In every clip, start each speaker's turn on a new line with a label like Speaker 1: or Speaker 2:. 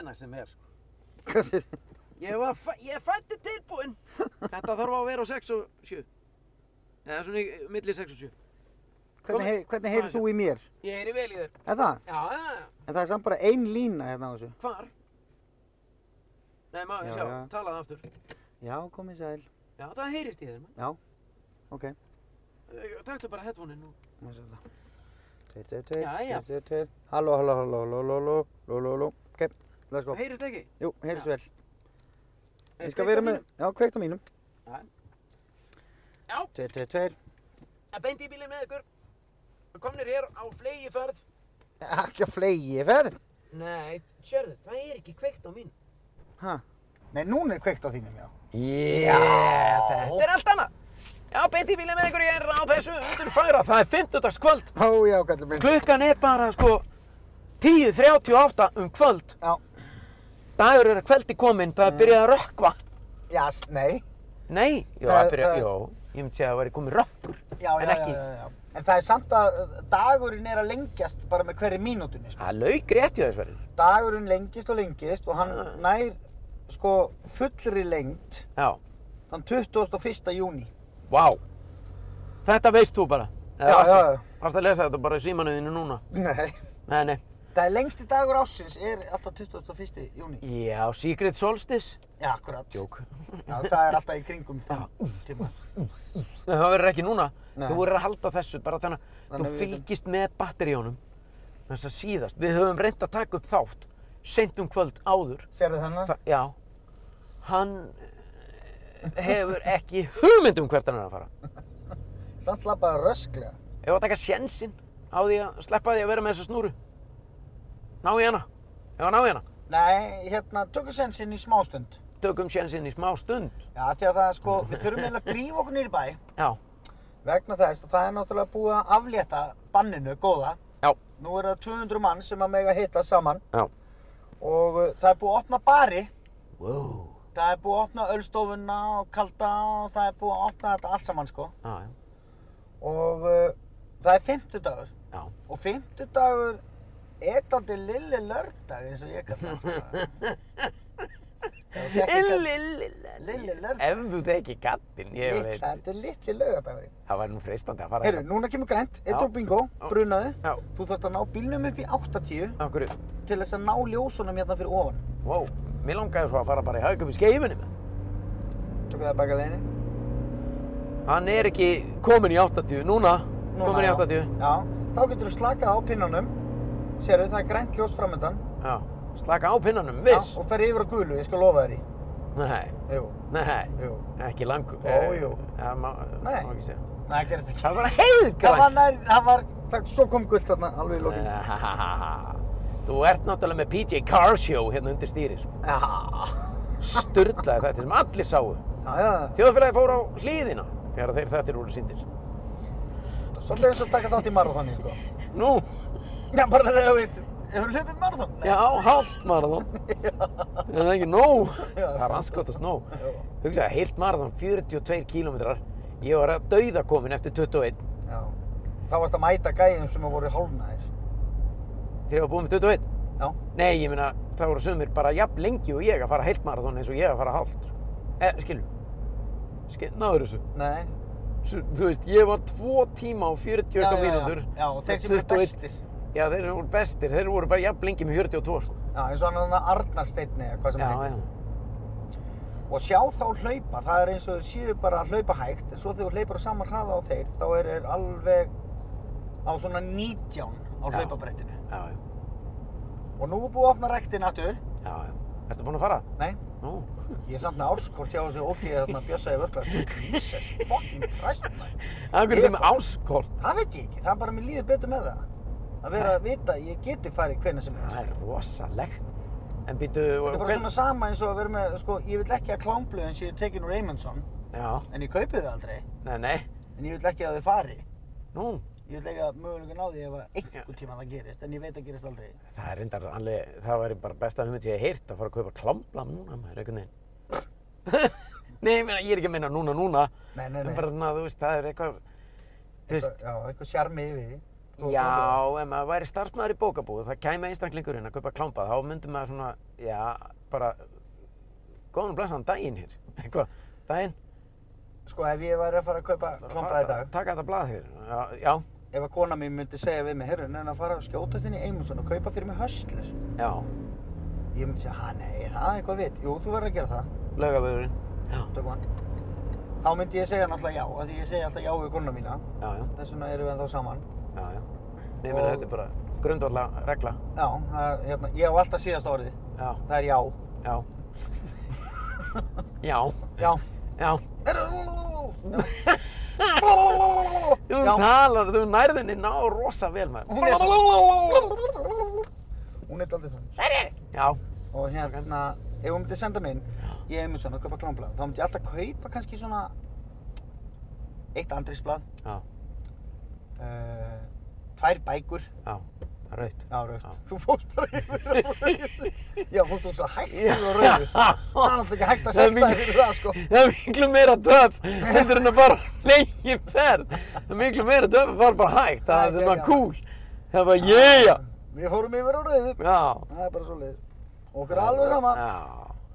Speaker 1: hvenær sem er, sko.
Speaker 2: Hvað sér þið?
Speaker 1: Ég var, fæ- ég fætti tilbúinn. Þetta þarf að vera á 6 og 7. Eða svona í milli 6 og 7.
Speaker 2: Hvernig, heyri, hvernig heyrir þú í mér?
Speaker 1: Ég heyri vel í þér.
Speaker 2: Er það?
Speaker 1: Já, já, já.
Speaker 2: En það er samt bara ein lína hérna á þessu.
Speaker 1: Hvar? Nei, maður,
Speaker 2: Já,
Speaker 1: sjá,
Speaker 2: já.
Speaker 1: talaðu aftur.
Speaker 2: Já, komið sæl.
Speaker 1: Já, það heyrist í þér,
Speaker 2: Já, ok.
Speaker 1: maður. Takktu bara headphone-in og...
Speaker 2: Má sjá það. Tveir, tveir, tveir,
Speaker 1: Jæja.
Speaker 2: tveir, tveir, tveir. Halló, halló, halló, halló, halló, halló, halló, halló. Ok, let's go.
Speaker 1: Það heyrist ekki.
Speaker 2: Jú, heyrst
Speaker 1: Já.
Speaker 2: vel. Ég skal vera með, já, kveikt á mínum.
Speaker 1: Já. Já.
Speaker 2: Tveir, tveir, tveir.
Speaker 1: Að beint í bílinn með ykkur. Við komnir hér á flegi ferð.
Speaker 2: Ekki að flegi ferð.
Speaker 1: Nei, sérðu, það er ekki kveikt á mín.
Speaker 2: Hæ? Nei, núna er kveikt á þínum, já.
Speaker 1: Yeah, þetta er allt annað. Já, beint í bílinn með ykkur, ég er á þessu undur fagra. Það er 50 kvöld.
Speaker 2: Ó, já, kallum minn.
Speaker 1: Klukkan er bara, sko, 10.38 um kvöld.
Speaker 2: Já, Mm.
Speaker 1: Dagur er að kveldi kominn, það er byrjað að rökkva.
Speaker 2: já, s- nei.
Speaker 1: Nei, já,
Speaker 2: Það-
Speaker 1: það byrja,
Speaker 2: það-
Speaker 1: já, ég myndi segja að það væri komið rökkur,
Speaker 2: Já,
Speaker 1: en
Speaker 2: já,
Speaker 1: ekki.
Speaker 2: Já, já, já. En það er samt að uh, dagurinn er að lengjast bara með hverju mínútunni, sko.
Speaker 1: Það lauk rétt hjá þess verður.
Speaker 2: Dagurinn lengist og lengist og hann
Speaker 1: Ah.
Speaker 2: nær, sko, fullri lengt
Speaker 1: Já,
Speaker 2: þann 21. júni.
Speaker 1: vá. Þetta veist þú bara.
Speaker 2: Já, já, já.
Speaker 1: Fast að lesa þetta bara í símanuðinu núna.
Speaker 2: Nei.
Speaker 1: Nei, nei.
Speaker 2: Það er lengsti dagur ásins er alltaf 21. júni.
Speaker 1: Já, Secret Solstice.
Speaker 2: Já, akkurat.
Speaker 1: Jók.
Speaker 2: Já, það er alltaf í kringum þann tíma.
Speaker 1: Það verður ekki núna.
Speaker 2: Nei.
Speaker 1: Þú verður að halda þessu bara þannig að þú
Speaker 2: Þannig að við vitum.
Speaker 1: fylgist með batteríunum. Þess að síðast. Við höfum reynd að taka upp þátt. Seint um kvöld áður.
Speaker 2: Sérðu þennan?
Speaker 1: Þa, já. Hann eh, hefur ekki hugmynd um hvert hann er að fara.
Speaker 2: Samt labbaða rösklega.
Speaker 1: Ég var að taka sjensinn á því að sleppa því að vera með þessa snúru. Ná í hana. Ég var að ná í hana.
Speaker 2: Nei, hérna, tökum sen sinn í smástund.
Speaker 1: Tökum sjensinn í smá stund.
Speaker 2: Já, því að það er sko, við þurfum eiginlega að drífa okkur niður í bæ.
Speaker 1: Já.
Speaker 2: vegna þess að það er náttúrulega búið að aflétta banninu góða.
Speaker 1: Já.
Speaker 2: Nú eru það 200 mann sem að mega hitta saman
Speaker 1: Já.
Speaker 2: og uh, það er búið að opna bari,
Speaker 1: Wow.
Speaker 2: það er búið að opna ölstofuna og kalda og það er búið að opna þetta allt saman sko.
Speaker 1: Já, já.
Speaker 2: Og uh, það er 50 dagur
Speaker 1: Já.
Speaker 2: og 50 dagur er daldið lilli lördag eins og ég sko. kallar það.
Speaker 1: Lilli, lilli,
Speaker 2: Lilli lördag.
Speaker 1: Ef þú teki kattinn, ég
Speaker 2: Litt,
Speaker 1: veit.
Speaker 2: þetta er litli laugardagurinn.
Speaker 1: Það var nú freistandi að fara
Speaker 2: Heyrðu, núna kemur grænt, eitt
Speaker 1: Já.
Speaker 2: og bingo,
Speaker 1: Já.
Speaker 2: brunaðu.
Speaker 1: Já.
Speaker 2: Þú þarft að ná bílnum upp í 80
Speaker 1: Af hverju?
Speaker 2: til þess að ná ljósunum hérna fyrir ofan.
Speaker 1: Wow. Mér langaði svo að fara bara í haugum í skeifinni. maður.
Speaker 2: Tökum það baka leiðinni.
Speaker 1: Hann er ekki kominn í 80. Núna,
Speaker 2: Núna,
Speaker 1: kominn í
Speaker 2: já.
Speaker 1: 80.
Speaker 2: Já, þá getur þú slakað á pinnunum. Sérðu, það er grænt ljós framöndan.
Speaker 1: Já. Slaka á pinnanum, viss.
Speaker 2: og fer yfir á gulu, ég skal lofa þér í.
Speaker 1: Nei,
Speaker 2: Jú,
Speaker 1: nei.
Speaker 2: jú.
Speaker 1: Ekki langur. Eh,
Speaker 2: Ó, jú.
Speaker 1: Það má, má
Speaker 2: Nei.
Speaker 1: ekki segja.
Speaker 2: Nei, það gerist ekki.
Speaker 1: Það var
Speaker 2: Það
Speaker 1: heiðgrænt.
Speaker 2: var nær, það var, það, svo kom gullt þarna alveg í lokinu.
Speaker 1: Eh, Þú ert náttúrulega með PJ Car Show hérna undir stýri, sko.
Speaker 2: Já,
Speaker 1: Sturlaði þetta sem allir sáu.
Speaker 2: já, já.
Speaker 1: Þjóðfélagi fór á hlýðina þegar þeir þettir voru síndir.
Speaker 2: Svolítið eins og taka þátt í marathoni, sko.
Speaker 1: Nú,
Speaker 2: Já, bara þegar þú veist, hefur hlupið marathon? Nei.
Speaker 1: já, hálft marathón. En það er ekki nóg.
Speaker 2: Já,
Speaker 1: Það er anskotast nóg.
Speaker 2: Já.
Speaker 1: Hugsaði, heilt marathón, 42 kílómetrar. Ég var að dauða komin eftir 21.
Speaker 2: Já. Þá varst að mæta gæðum sem að voru hálfnaðir.
Speaker 1: Þegar ég var búin með 21.
Speaker 2: Já.
Speaker 1: Nei, ég meina, það voru sumir bara jafn lengi og ég að fara heilt marathón eins og ég að fara hálft. Eh, skilur. Skil, náður þessu.
Speaker 2: Nei.
Speaker 1: Svo, þú veist, ég var tvo tíma og 40
Speaker 2: Já,
Speaker 1: eitthvað
Speaker 2: já, já.
Speaker 1: mínútur.
Speaker 2: Já, og þeir sem eru
Speaker 1: 21
Speaker 2: bestir.
Speaker 1: Já, þeir sem voru bestir, þeir voru bara jafn lengi með 42, sko.
Speaker 2: Já, eins og hann að Arnarsteitni eða hvað sem
Speaker 1: Já,
Speaker 2: hann heitir.
Speaker 1: já.
Speaker 2: Og sjá þá hlaupa, það er eins og þeir séu bara að hlaupa hægt, en svo þegar þú hleypur á sama hraða á þeir, þá er þeir alveg á svona 19 á
Speaker 1: Já.
Speaker 2: hlaupabrettinu.
Speaker 1: Já, já.
Speaker 2: Og nú er búið að opna rektin aftur.
Speaker 1: Já, já. Ertu búinn að fara?
Speaker 2: Nei,
Speaker 1: Nú.
Speaker 2: ég er samt með árskort hjá þessu ókið þarna bjössa í vörkla. Jesus fucking Christ, man.
Speaker 1: Það er með áskort.
Speaker 2: Það veit ég ekki, það er bara mér líður betur með það. Að vera að vita að ég geti farið hvernig sem er.
Speaker 1: Það er rosalegt. En býtu...
Speaker 2: Þetta er bara svona sama eins og að vera með, sko, ég vil ekki að klámblöðin séu tekin úr Eymundsson,
Speaker 1: Já,
Speaker 2: en ég kaupi þau aldrei,
Speaker 1: nei, nei.
Speaker 2: en ég vil ekki að þau farið.
Speaker 1: Nú.
Speaker 2: Ég vil eiga mögulegan á því ef að einhvern tíma það gerist, en ég veit að gerist aldrei.
Speaker 1: Það er reyndar alveg, það væri bara besta hugmynd sem ég hef heyrt að fara að kaupa klámblam núna, maður, einhvern veginn. nei, ég meina, ég er ekki að meina núna, núna.
Speaker 2: Nei, nei,
Speaker 1: En
Speaker 2: nei.
Speaker 1: bara, na, þú veist, það er eitthvað, þú veist,
Speaker 2: Já, eitthvað sjarmi yfir því. og kóngulær.
Speaker 1: Já, ef maður væri starfsmæður í bókabúð og það kæmi einstaklingurinn að kaupa klámpa þá myndi maður svona, já, bara góðan og blessaðan daginn hér eitthvað, daginn
Speaker 2: Sko ef ég væri að fara að kaupa klambraði í dag,
Speaker 1: taka þetta blað hér, já, já,
Speaker 2: ef að kona mín myndi segja við mig, herru, neina að fara að skjótast inn í Eymundsson og kaupa fyrir mig höstlir.
Speaker 1: já
Speaker 2: Ég myndi segja, hæ, nei, er það eitthvað vit? Jú, þú verður að gera það.
Speaker 1: laugavegurinn, já,
Speaker 2: Tökum hann. Þá myndi ég segja náttúrulega já, af því ég segja alltaf já við konuna mína.
Speaker 1: já, já,
Speaker 2: Þess vegna erum við ennþá saman.
Speaker 1: já, já Nei, minna,
Speaker 2: Og-
Speaker 1: þetta er bara grundvalla regla
Speaker 2: Já, það, hérna, ég á alltaf síðasta orðið.
Speaker 1: Já,
Speaker 2: Það er já.
Speaker 1: já Já,
Speaker 2: Já.
Speaker 1: já Þú
Speaker 2: Já.
Speaker 1: talar, þú nærðinni ná rosa vel maður
Speaker 2: Hún er svona. Hún er aldrei þannig.
Speaker 1: Já,
Speaker 2: Og hérna, ef hún myndi senda minn í Eymundsson að kaupa klámblað, þá myndi ég alltaf kaupa kannski svona eitt andrisblað,
Speaker 1: já,
Speaker 2: uh, tvær bækur,
Speaker 1: já, raut
Speaker 2: já, raukt.
Speaker 1: Já.
Speaker 2: Þú fórst bara yfir á rauðu. Já, fórst þú svo hægt
Speaker 1: Já.
Speaker 2: yfir á rauðu. Það er náttúrulega ekki hægt að
Speaker 1: Það er
Speaker 2: sekta þig
Speaker 1: mikið-
Speaker 2: fyrir það, sko.
Speaker 1: Það er miklu meira töf heldur en að fara lengi ferð. Það er miklu meira töf að fara bara hægt. Það
Speaker 2: Það
Speaker 1: er
Speaker 2: er
Speaker 1: svona
Speaker 2: geggjað.
Speaker 1: cool. Það er bara yeah!
Speaker 2: Við fórum yfir á rauðu.
Speaker 1: Já.
Speaker 2: Það er bara svo leið. Okkur er alveg sama.
Speaker 1: Já.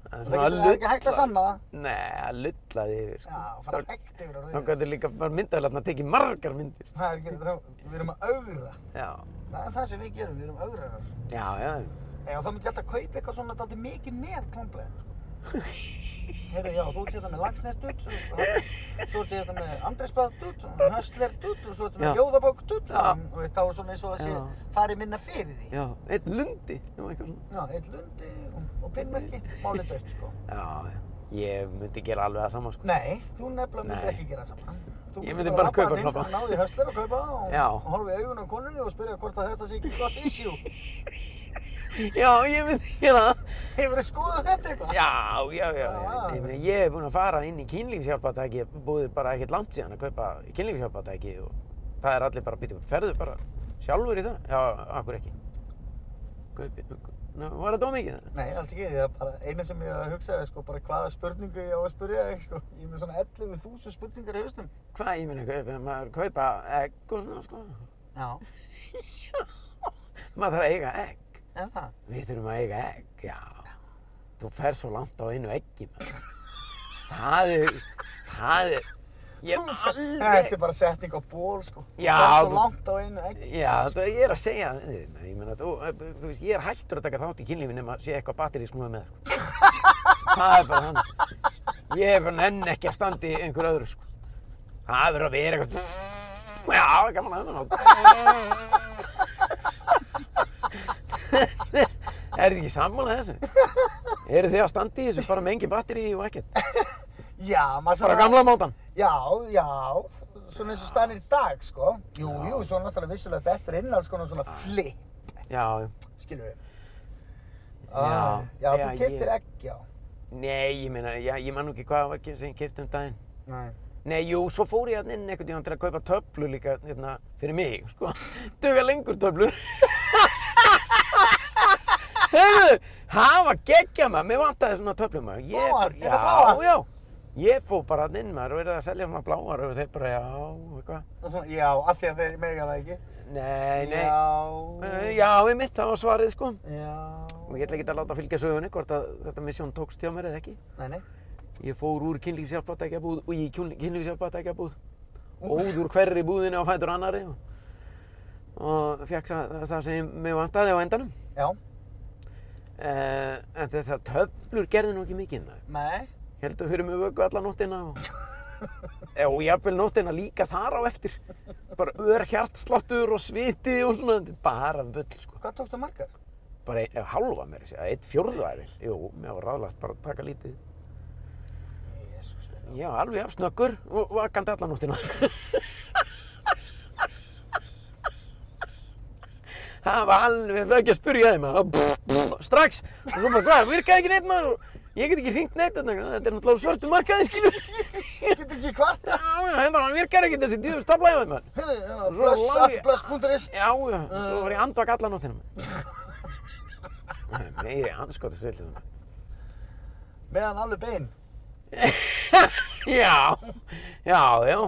Speaker 1: En
Speaker 2: Það getur- það er ekki hægt að sanna það.
Speaker 1: Nei, að lullaði yfir. sko.
Speaker 2: Já, fara hægt yfir á
Speaker 1: Þá
Speaker 2: rauðu.
Speaker 1: gæti líka bara myndaðilega að maður tekið margar myndir.
Speaker 2: Það er ekki, þá, við erum að augra.
Speaker 1: Já.
Speaker 2: Það er það sem við gerum, við erum augrarar.
Speaker 1: Já, já.
Speaker 2: Nei, og þá myndi ég alltaf kaupa eitthvað svona dálítið mikið með klámblæðinu, sko. Heyrðu, já, þú ert hérna með lagsnest dutt, svo ert hérna með andresbað dutt, höstler dutt, og svo ert
Speaker 1: Já.
Speaker 2: hérna með ljóðabók dutt,
Speaker 1: Já.
Speaker 2: og veist, þá er svona eins og að sé
Speaker 1: Já.
Speaker 2: farið minna fyrir því.
Speaker 1: Já, einn lundi. Já, eitthvað svona.
Speaker 2: Já, eitt lundi og, og pinnmerki, málið dött, sko.
Speaker 1: Já, já. Ég myndi gera alveg það sama, sko.
Speaker 2: Nei, þú nefnilega myndir
Speaker 1: Nei.
Speaker 2: ekki gera saman.
Speaker 1: Ég
Speaker 2: Þú myndir
Speaker 1: myndi bara kaupa
Speaker 2: labba
Speaker 1: klobba.
Speaker 2: þarna inn, Náðu í höstler og kaupa það
Speaker 1: Já.
Speaker 2: og, og horfa í augunum konunni og spyrja hvort að þetta sé ekki gott issue.
Speaker 1: Já, ég myndi gera það.
Speaker 2: Hefur þið skoðað þetta eitthvað?
Speaker 1: Já, já, já.
Speaker 2: Já.
Speaker 1: Ég, meina, ég hef búin að fara inn í kynlífshjálpatæki, búið bara ekkert langt síðan að kaupa kynlífshjálpatæki og það er allir bara að býta upp. Ferðu bara sjálfur í það? Já, akkur ekki. Kaupi, Nú, var þetta ómikið það?
Speaker 2: Nei, alls ekki, það er bara eina sem ég er að hugsa er sko bara hvaða spurningu ég á að spurja þig sko. Ég er með svona 11.000 spurningar í hausnum.
Speaker 1: Hvað ég minna kaupa? Maður kaupa egg og svona, sko.
Speaker 2: Já.
Speaker 1: Maður þarf að eiga egg.
Speaker 2: En það?
Speaker 1: Við þurfum að eiga egg, já. Þú fer svo langt á einu eggi, maður. Það er, það er, ég
Speaker 2: Þú-
Speaker 1: hef
Speaker 2: Þetta
Speaker 1: aldrei...
Speaker 2: er bara setning á ból sko.
Speaker 1: Já,
Speaker 2: Það er
Speaker 1: þú-
Speaker 2: svo langt á einu egg.
Speaker 1: Já, það ég er að segja þið, ég meina, þú, eh, þú veist, ég er hættur að taka þátt í kynlífi nema sé eitthvað batteri snúið með, sko. það er bara þannig. Ég er bara enn ekki að standa í einhver öðru, sko. Það verður að vera eitthvað, já, gaman að hennan. Er þið ekki sammála þessu? Eru þið að standa í þessu bara með engin batteri og ekkert?
Speaker 2: Já, maður
Speaker 1: Bara á gamla mátan?
Speaker 2: Já, já, svona eins og staðan er í dag sko. Jú, jú, svo náttúrulega vissulega þetta er innan sko svona flip,
Speaker 1: Já, já.
Speaker 2: skilur við.
Speaker 1: Já.
Speaker 2: Ah,
Speaker 1: Já,
Speaker 2: já, þú
Speaker 1: ég-
Speaker 2: keftir egg, já.
Speaker 1: Nei, ég meina, já, ég man nú ekki hvað það var sem ég keypti um daginn.
Speaker 2: Nei.
Speaker 1: Nei, jú, svo fór ég hann inn einhvern tíðan til að kaupa töflu líka hérna, fyrir mig, sko. Duga lengur töflur. Heyrðu, hafa geggja maður, mér vantaði svona töflur maður. Ég
Speaker 2: Bláar,
Speaker 1: bara-
Speaker 2: eru bláar?
Speaker 1: Já, já. Ég fór bara hann inn maður og verið að selja svona bláar og þeir bara, já, eitthvað.
Speaker 2: Og Svona, já, af því að þeir mega það ekki.
Speaker 1: Nei, nei. Já,
Speaker 2: Já.
Speaker 1: já ég mitt, það var svarið, sko.
Speaker 2: Já.
Speaker 1: Og ég ætla ekki að láta fylgja sögunni hvort að þetta misjón tókst hjá mér eða ekki.
Speaker 2: Nei, nei.
Speaker 1: Ég fór úr kynlífsjálfbátækjabúð og í kynlífsjálfbátækjabúð óð úr hverri búðinni á fætur annari og, og fekk það, það sem mig vantaði á endanum
Speaker 2: Já,
Speaker 1: eh, en þetta töflur gerði nú ekki mikið maður.
Speaker 2: nei.
Speaker 1: heldur fyrir mig vöku alla nóttina og, Eh, og jafnvel nóttina líka þar á eftir bara ör hjartsláttur og sviti og svona þetta er bara bull sko
Speaker 2: Hvað tókstu margar?
Speaker 1: bara e- ein, halva mér þessi, eitt fjórðaði jú, mér var ráðlagt bara að taka lítið
Speaker 2: Jésús.
Speaker 1: Já, alveg af snöggur og vakandi allan nóttina. Það var alveg ekki að spurja þeim að pff, pff, strax og svo bara hvað, virkaði ekki neitt maður og ég get ekki hringt neitt þarna, þetta er náttúrulega á svörtu markaði skilur.
Speaker 2: Getur ekki kvarta?
Speaker 1: Já, já, hérna hann virkar ekki þessi djúður staflaði á þeim maður.
Speaker 2: Heyrðu, hérna,
Speaker 1: Svo
Speaker 2: Blöss,
Speaker 1: langi-
Speaker 2: allt blöss.is.
Speaker 1: Já, já, og
Speaker 2: Uh.
Speaker 1: svo var ég andvak allan nóttina maður. Það er Meiri anskotu svilt þarna.
Speaker 2: Meðan alveg bein.
Speaker 1: Já, já, já.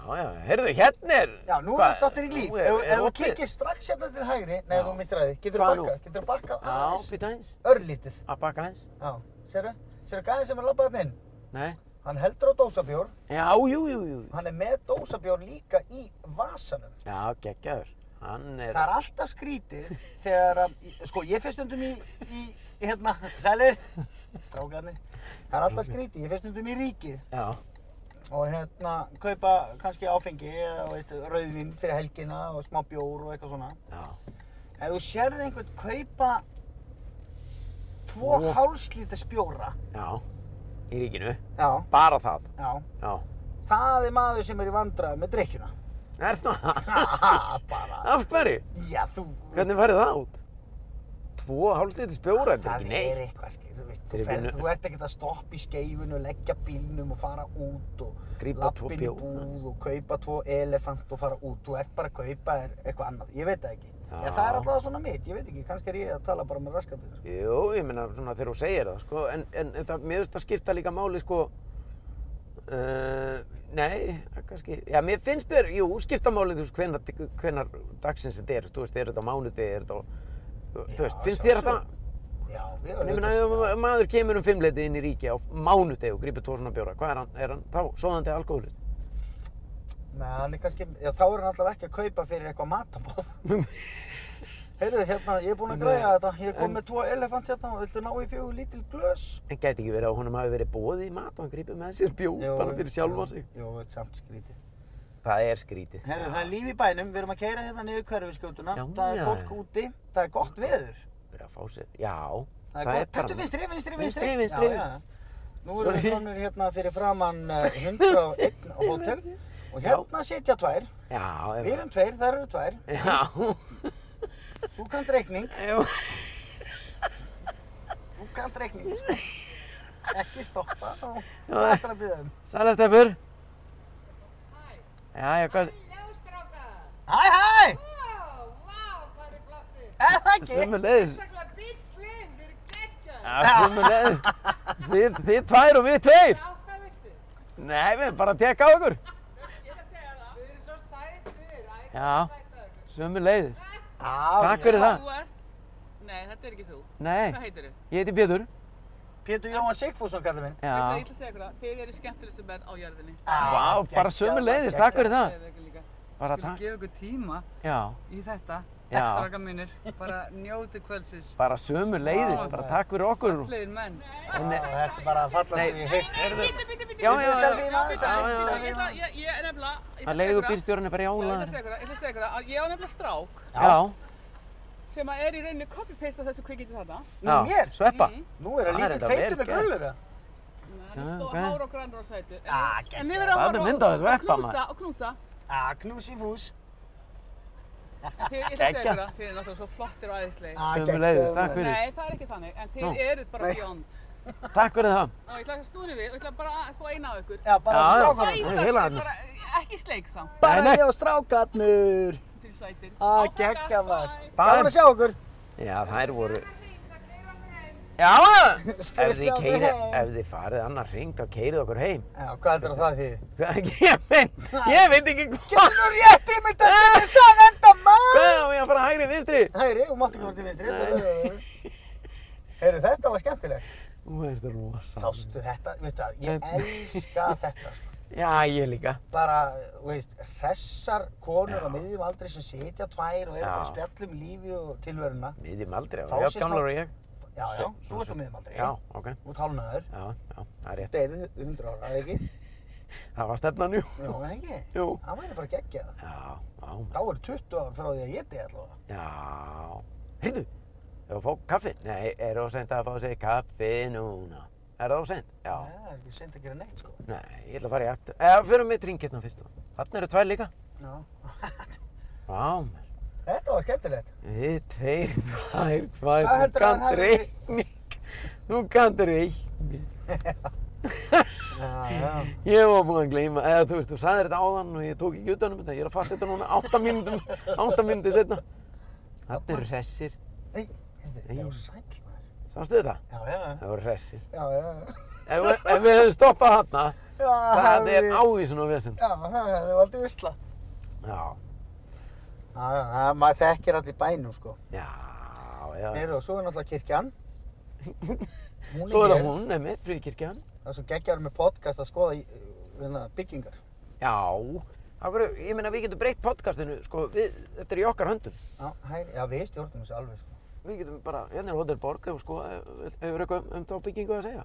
Speaker 1: Já, já, heyrðu, hérna er...
Speaker 2: Já, nú er
Speaker 1: Hvað-
Speaker 2: þetta dottir í líf.
Speaker 1: nú er-
Speaker 2: Ef
Speaker 1: er
Speaker 2: ef þú
Speaker 1: opið?
Speaker 2: kikir strax hérna til hægri, nei,
Speaker 1: Já.
Speaker 2: þú mistir aðeið, getur
Speaker 1: Hvað
Speaker 2: þú
Speaker 1: nú?
Speaker 2: bakkað, getur þú bakkað
Speaker 1: Já,
Speaker 2: aðeins,
Speaker 1: býta aðeins.
Speaker 2: örlítið.
Speaker 1: Að baka aðeins.
Speaker 2: Já, sérðu, sérðu gæðin sem er labbað hérna inn,
Speaker 1: Nei.
Speaker 2: hann heldur á dósabjór,
Speaker 1: Já, jú, jú, jú.
Speaker 2: hann er með dósabjór líka í vasanum.
Speaker 1: Já, geggjaður. Hann er...
Speaker 2: Það er alltaf skrítið þegar að, sko, ég fyrst stundum í, í, í hérna, sælir, strákarnir, það er alltaf skrítið, ég fyrst stundum í ríkið
Speaker 1: Já,
Speaker 2: og hérna, kaupa kannski áfengi eða, veist, rauðvin fyrir helgina og smá bjór og eitthvað svona.
Speaker 1: já.
Speaker 2: Ef þú sérði einhvern kaupa tvo
Speaker 1: Tvo.
Speaker 2: hálslítars bjóra,
Speaker 1: Já. Í ríkinu.
Speaker 2: já,
Speaker 1: Bara það.
Speaker 2: já,
Speaker 1: Já.
Speaker 2: það er maður sem er í vandræði með drikkjuna.
Speaker 1: Er það?
Speaker 2: Haha, bara,
Speaker 1: Af hverju?
Speaker 2: já, þú,
Speaker 1: Hvernig færðu það út? Tvo hálflítis bjóra, þetta er
Speaker 2: það
Speaker 1: ekki
Speaker 2: er
Speaker 1: neitt.
Speaker 2: eitthvað, skil, þú veist,
Speaker 1: Þeir
Speaker 2: þú,
Speaker 1: eru
Speaker 2: fer,
Speaker 1: vinnu-
Speaker 2: þú ert ekkert að stoppa í skeifinu, leggja bílnum og fara út og
Speaker 1: Grípa tvo
Speaker 2: lappin í
Speaker 1: bjóra.
Speaker 2: búð og kaupa tvo elefant og fara út, þú ert bara að kaupa þér eitthvað annað, ég veit það ekki.
Speaker 1: Já.
Speaker 2: En það er alltaf svona mitt, ég veit ekki, kannski er ég að tala bara með raskatinn, sko.
Speaker 1: Jú, ég meina svona þegar þú segir það, sko, en, en þetta, mér finnst það skipta líka máli, sko, uh, nei, það kannski, já, mér finnst þér, jú, skipta máli, þú veist, hvenar, hvenar dagsins þetta er, þú veist, er þetta á mánudegi, er þetta á, þú veist,
Speaker 2: Já,
Speaker 1: finnst þér að
Speaker 2: sjálfsögðu.
Speaker 1: það,
Speaker 2: sko. Já, við
Speaker 1: ég meina, ef ma- maður kemur um fimmleiti inn í ríki á mánudegi og grípur tvo svona bjóra, hvað er hann, er hann þá, svoðandi alkoholist?
Speaker 2: Nei, hann er kannski, já þá er hann allavega ekki að kaupa fyrir eitthvað matabóð. Heyrðu, hérna, ég er búinn að
Speaker 1: Nei,
Speaker 2: græja þetta. Ég kom
Speaker 1: en-
Speaker 2: með tvo elefant hérna og viltu ná í fjögur lítil glös?
Speaker 1: En gæti ekki verið að honum hafi verið bóði í mat og hann grípur með sér bjór bara fyrir sjálfa sig.
Speaker 2: Jó, þetta er samt skrítið.
Speaker 1: Það er skrítið.
Speaker 2: Heyrðu, það er líf í bænum. Við erum að keira hérna niður hverfiskjótuna.
Speaker 1: Já, já.
Speaker 2: Það er fólk úti. Það er gott veður.
Speaker 1: Verið að fá sér, já,
Speaker 2: Það er gott.
Speaker 1: bara-
Speaker 2: Þetta er vinstri, vinstri,
Speaker 1: Vinstri,
Speaker 2: vinstri.
Speaker 1: vinstri.
Speaker 2: Já, já. Nú erum við
Speaker 1: Sorry.
Speaker 2: konur hérna fyrir framann eh, 101 hótel og hérna sitja tvær.
Speaker 1: Já, ef-
Speaker 2: Við erum tveir, þær eru tvær.
Speaker 1: Já,
Speaker 2: Þú kannt reikning.
Speaker 1: já,
Speaker 2: Þú kannt reikning, sko. Ekki stoppa, þá
Speaker 1: Já.
Speaker 2: þú ættir að byggja um.
Speaker 1: sælastefur. Já, já, hvað,
Speaker 3: Já, strákar!
Speaker 2: Hæ, hæ!
Speaker 3: Ó, vá, hvað er flottir!
Speaker 2: Er það ekki?
Speaker 1: sömu leiðis,
Speaker 3: Sérstaklega bíllinn, þeir eru geggjað!
Speaker 1: já, sömu leiðis, þið, þið tvær og við tveir.
Speaker 3: Átta vittu!
Speaker 1: Nei, við erum bara að tekka á ykkur.
Speaker 3: Ég er að segja það! Þið eru svo sætir, æ, hvað
Speaker 1: Já.
Speaker 3: er sætt að ykkur?
Speaker 1: Sömu leiðis,
Speaker 2: Á,
Speaker 1: takk fyrir það.
Speaker 3: Þú ert... Nei, þetta er ekki þú.
Speaker 1: Nei,
Speaker 3: Hvað heitir þau?
Speaker 1: ég heiti Pétur,
Speaker 2: Pétur Jóhann Sigfússon kallar minn.
Speaker 3: Ég ætla
Speaker 1: já.
Speaker 3: að segja ykkur það, þið eru skemmtilegustu menn á jörðinni.
Speaker 1: Vá, bara sömu leiðis, takk fyrir það.
Speaker 3: Segðu ykkur líka.
Speaker 1: Bara
Speaker 3: Skulum
Speaker 1: takk,
Speaker 3: gefa ykkur tíma
Speaker 1: já,
Speaker 3: í þetta,
Speaker 1: Já.
Speaker 3: strákar mínir. Bara njótið kvöldsins.
Speaker 1: bara sömu leiðis, bara takk fyrir okkur.
Speaker 3: Gleðir menn.
Speaker 2: Þetta er bara að falla sig í heilt.
Speaker 1: Já, já, já,
Speaker 2: Selfie maður,
Speaker 1: já, já, já.
Speaker 2: selfie,
Speaker 3: Ég ætla, ég, ég er nefnilega... ég
Speaker 1: Það
Speaker 3: ætla að segja
Speaker 1: leiður
Speaker 3: ykkur
Speaker 1: býrstjórinn er bara
Speaker 3: Ég ætla að
Speaker 1: jálaður.
Speaker 3: segja ykkur það, ég ætla að segja ykkur það, að ég á nefnilega strák
Speaker 1: Já,
Speaker 3: sem að er í rauninni copy-paste af þessu kvikindi þarna.
Speaker 2: Nú
Speaker 1: já,
Speaker 2: mér, Mhm.
Speaker 1: sveppa.
Speaker 2: nú er það
Speaker 1: Það er
Speaker 2: lítill
Speaker 1: þetta
Speaker 2: feitur
Speaker 1: vel
Speaker 2: með
Speaker 1: gert.
Speaker 2: krullur það.
Speaker 3: Það er stór
Speaker 1: ok.
Speaker 3: hár og grannur sætu. En-
Speaker 2: Ah,
Speaker 3: En við verðum að
Speaker 1: Það er
Speaker 3: horfa
Speaker 1: mynd af þessu
Speaker 3: og- og
Speaker 1: eppa,
Speaker 3: knúsa
Speaker 1: maður.
Speaker 3: og knúsa.
Speaker 2: Á, knús í fús.
Speaker 3: Þið, ég ætla að segja
Speaker 1: Geggjað.
Speaker 3: ykkur það, þið eru náttúrulega svo flottir og æðislegir.
Speaker 2: Á,
Speaker 1: Sömu
Speaker 2: geggjað
Speaker 1: leiðis,
Speaker 2: maður.
Speaker 1: takk Ah, fyrir.
Speaker 3: Nei, það er ekki þannig, en þið
Speaker 1: Nú.
Speaker 3: eruð bara beyond.
Speaker 1: Takk fyrir það.
Speaker 3: Og ég ætla að snúri við og ég ætla bara að fá eina af ykkur.
Speaker 2: Já, bara
Speaker 1: Já, já.
Speaker 2: strákarnir.
Speaker 1: það er heila
Speaker 3: Sætast,
Speaker 1: þarna.
Speaker 3: bara eh, ekki sleik samt,
Speaker 1: Nei, nei.
Speaker 2: Bara ég og strákarnir.
Speaker 3: þið sætir.
Speaker 2: Á,
Speaker 1: Ah,
Speaker 3: Áfram,
Speaker 2: geggjað maður.
Speaker 3: bye.
Speaker 2: Gaman
Speaker 1: Bara-
Speaker 2: að sjá okkur.
Speaker 1: Já, þær voru... Já, ef
Speaker 2: Skutla
Speaker 1: þið,
Speaker 2: okkur
Speaker 1: keiri,
Speaker 2: heim.
Speaker 1: ef þið farið annar hring, þá keirið okkur heim.
Speaker 2: Já, hvað heldur það því?
Speaker 1: Það ég veit, ég veit ekki
Speaker 2: Getur
Speaker 1: hvað,
Speaker 2: nú rétt í mig dættinni það enda maður.
Speaker 1: hvað á ég að fara hægri vinstri.
Speaker 2: Hæri, þú mátt ekki fór til vinstri. þetta er- Heyrðu, þetta var skemmtilegt.
Speaker 1: Þú veist það rosa.
Speaker 2: Sástu þetta, veistu að ég elska þetta sko.
Speaker 1: Já, ég líka.
Speaker 2: Bara, þú veist, hressar konur
Speaker 1: Já.
Speaker 2: á miðjum aldrei sem sitja tvær og
Speaker 1: Já.
Speaker 2: eru bara að spjalla um lífi og tilveruna.
Speaker 1: Miðjum aldrei,
Speaker 2: Fá
Speaker 1: já,
Speaker 2: sér smá-
Speaker 1: gamlar og ég.
Speaker 2: Já, já,
Speaker 1: Svo-
Speaker 2: þú
Speaker 1: svo-
Speaker 2: ert á miðjum aldrei.
Speaker 1: Já, ok,
Speaker 2: Þú ert hálnaður.
Speaker 1: já, já, það er rétt.
Speaker 2: Deyrið 100 ára, er það ekki?
Speaker 1: Það var stefnan, jú.
Speaker 2: Jó, er það ekki?
Speaker 1: Jú.
Speaker 2: Það væri bara geggjað.
Speaker 1: Já, já,
Speaker 2: Þá eru 20 ár frá því að ég deyrið allavega.
Speaker 1: já. Heyrðu, hefur þú fóð kaffi? Nei, er þú sent að fá sér kaffi núna? Er það þú sent? Já.
Speaker 2: Nei, Það er ekki seint að gera neitt sko.
Speaker 1: Nei, ég ætla að fara í aftur. Eða, fyrir með tringirna hérna fyrst. Þarna eru tvær líka.
Speaker 2: Já.
Speaker 1: Vá, menn.
Speaker 2: Þetta var skemmtilegt.
Speaker 1: Við tveir, tvær, tvær,
Speaker 2: Hvað
Speaker 1: þú
Speaker 2: heldurðu að hann
Speaker 1: kannt
Speaker 2: hafi verið?
Speaker 1: reikning, þú kannt reikning.
Speaker 2: Já, já.
Speaker 1: Ég var búinn að gleyma, eða þú veist, þú sagðir þetta áðan og ég tók ekki utanum þetta, ég er að fatta þetta núna átta mínútum, átta mínútum setna. Þetta eru hressir,
Speaker 2: Nei, heyrðu,
Speaker 1: Nei.
Speaker 2: já, sæl maður.
Speaker 1: sástu þetta?
Speaker 2: Já, já, já.
Speaker 1: Það voru hressir.
Speaker 2: Já, já, já.
Speaker 1: Ef, ef við hefum stoppað þarna, Það er
Speaker 2: við-
Speaker 1: ávísun og vesend.
Speaker 2: Já, það er aldrei visla.
Speaker 1: Já,
Speaker 2: Já, já, já, maður þekkir allir bænum, sko.
Speaker 1: já, já.
Speaker 2: Heyrðu, og svo er náttúrulega kirkjan. Hún
Speaker 1: Svo er það
Speaker 2: hér.
Speaker 1: hún, nefnir, fríkirkjan.
Speaker 2: Það er svo geggjar með podcast að skoða í, hérna, byggingar.
Speaker 1: Já, okkur, ég meina við getum breytt podcastinu, sko, við, þetta er í okkar höndum.
Speaker 2: Já, hæri, já, við stjórnum þessu alveg, sko.
Speaker 1: Við getum bara, hérna er Hotel Borg, ef sko, hefur eitthvað um, um þá byggingu að segja.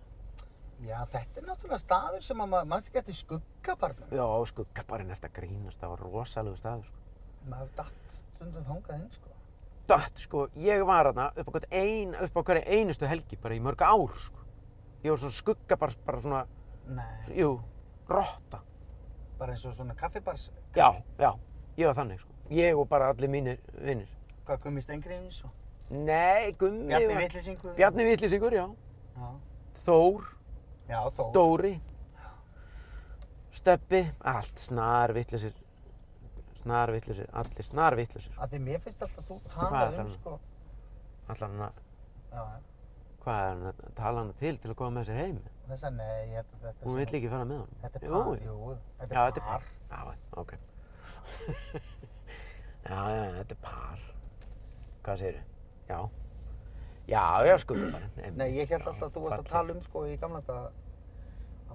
Speaker 2: Já, þetta er náttúrulega staður sem að maður, mannst ekki eftir skuggabarnum.
Speaker 1: Já, sko, gabbarinn ert að grínast, það var rosalegu staður, sko.
Speaker 2: Maður datt stundum þangað inn, sko.
Speaker 1: Datt, sko, ég var hana upp á, hvern ein, upp á hverja einustu helgi, bara í mörg ár, sko. Ég var svona skugga bara, bara svona,
Speaker 2: Nei,
Speaker 1: jú, rotta.
Speaker 2: bara eins og svona kaffibars,
Speaker 1: Já, já, ég var þannig, sko. Ég og bara allir mínir vinnir.
Speaker 2: hvað gummi stengriðins og
Speaker 1: Nei, Gummi
Speaker 2: Bjarni
Speaker 1: var-
Speaker 2: Vittlisingu.
Speaker 1: Bjarni Vittlisingur, já.
Speaker 2: Já,
Speaker 1: Þór,
Speaker 2: já, þó.
Speaker 1: Dóri, Steppi, allt snar vittlisir, snar vittlisir, allir snar vittlisir.
Speaker 2: Að því mér finnst alltaf þú
Speaker 1: Hvað
Speaker 2: talað
Speaker 1: ætlar
Speaker 2: um,
Speaker 1: hann?
Speaker 2: sko.
Speaker 1: Allar hann að,
Speaker 2: Já, já.
Speaker 1: hvað er hann að tala hann til til að koma með sér heim?
Speaker 2: Þess að nei, ég held að þetta
Speaker 1: Hún
Speaker 2: sé
Speaker 1: vill
Speaker 2: nú-
Speaker 1: ekki fara með honum.
Speaker 2: Þetta er
Speaker 1: Jú,
Speaker 2: par, jú, þetta er
Speaker 1: Já, þetta er
Speaker 2: par.
Speaker 1: par. Já, ok. já, já, þetta er par. Hvað segirðu? Já. Já, já, skuggabarinn. einmitt.
Speaker 2: Nei, ég held
Speaker 1: Já,
Speaker 2: alltaf að þú varst að
Speaker 1: falleg.
Speaker 2: tala um, sko, í gamla daga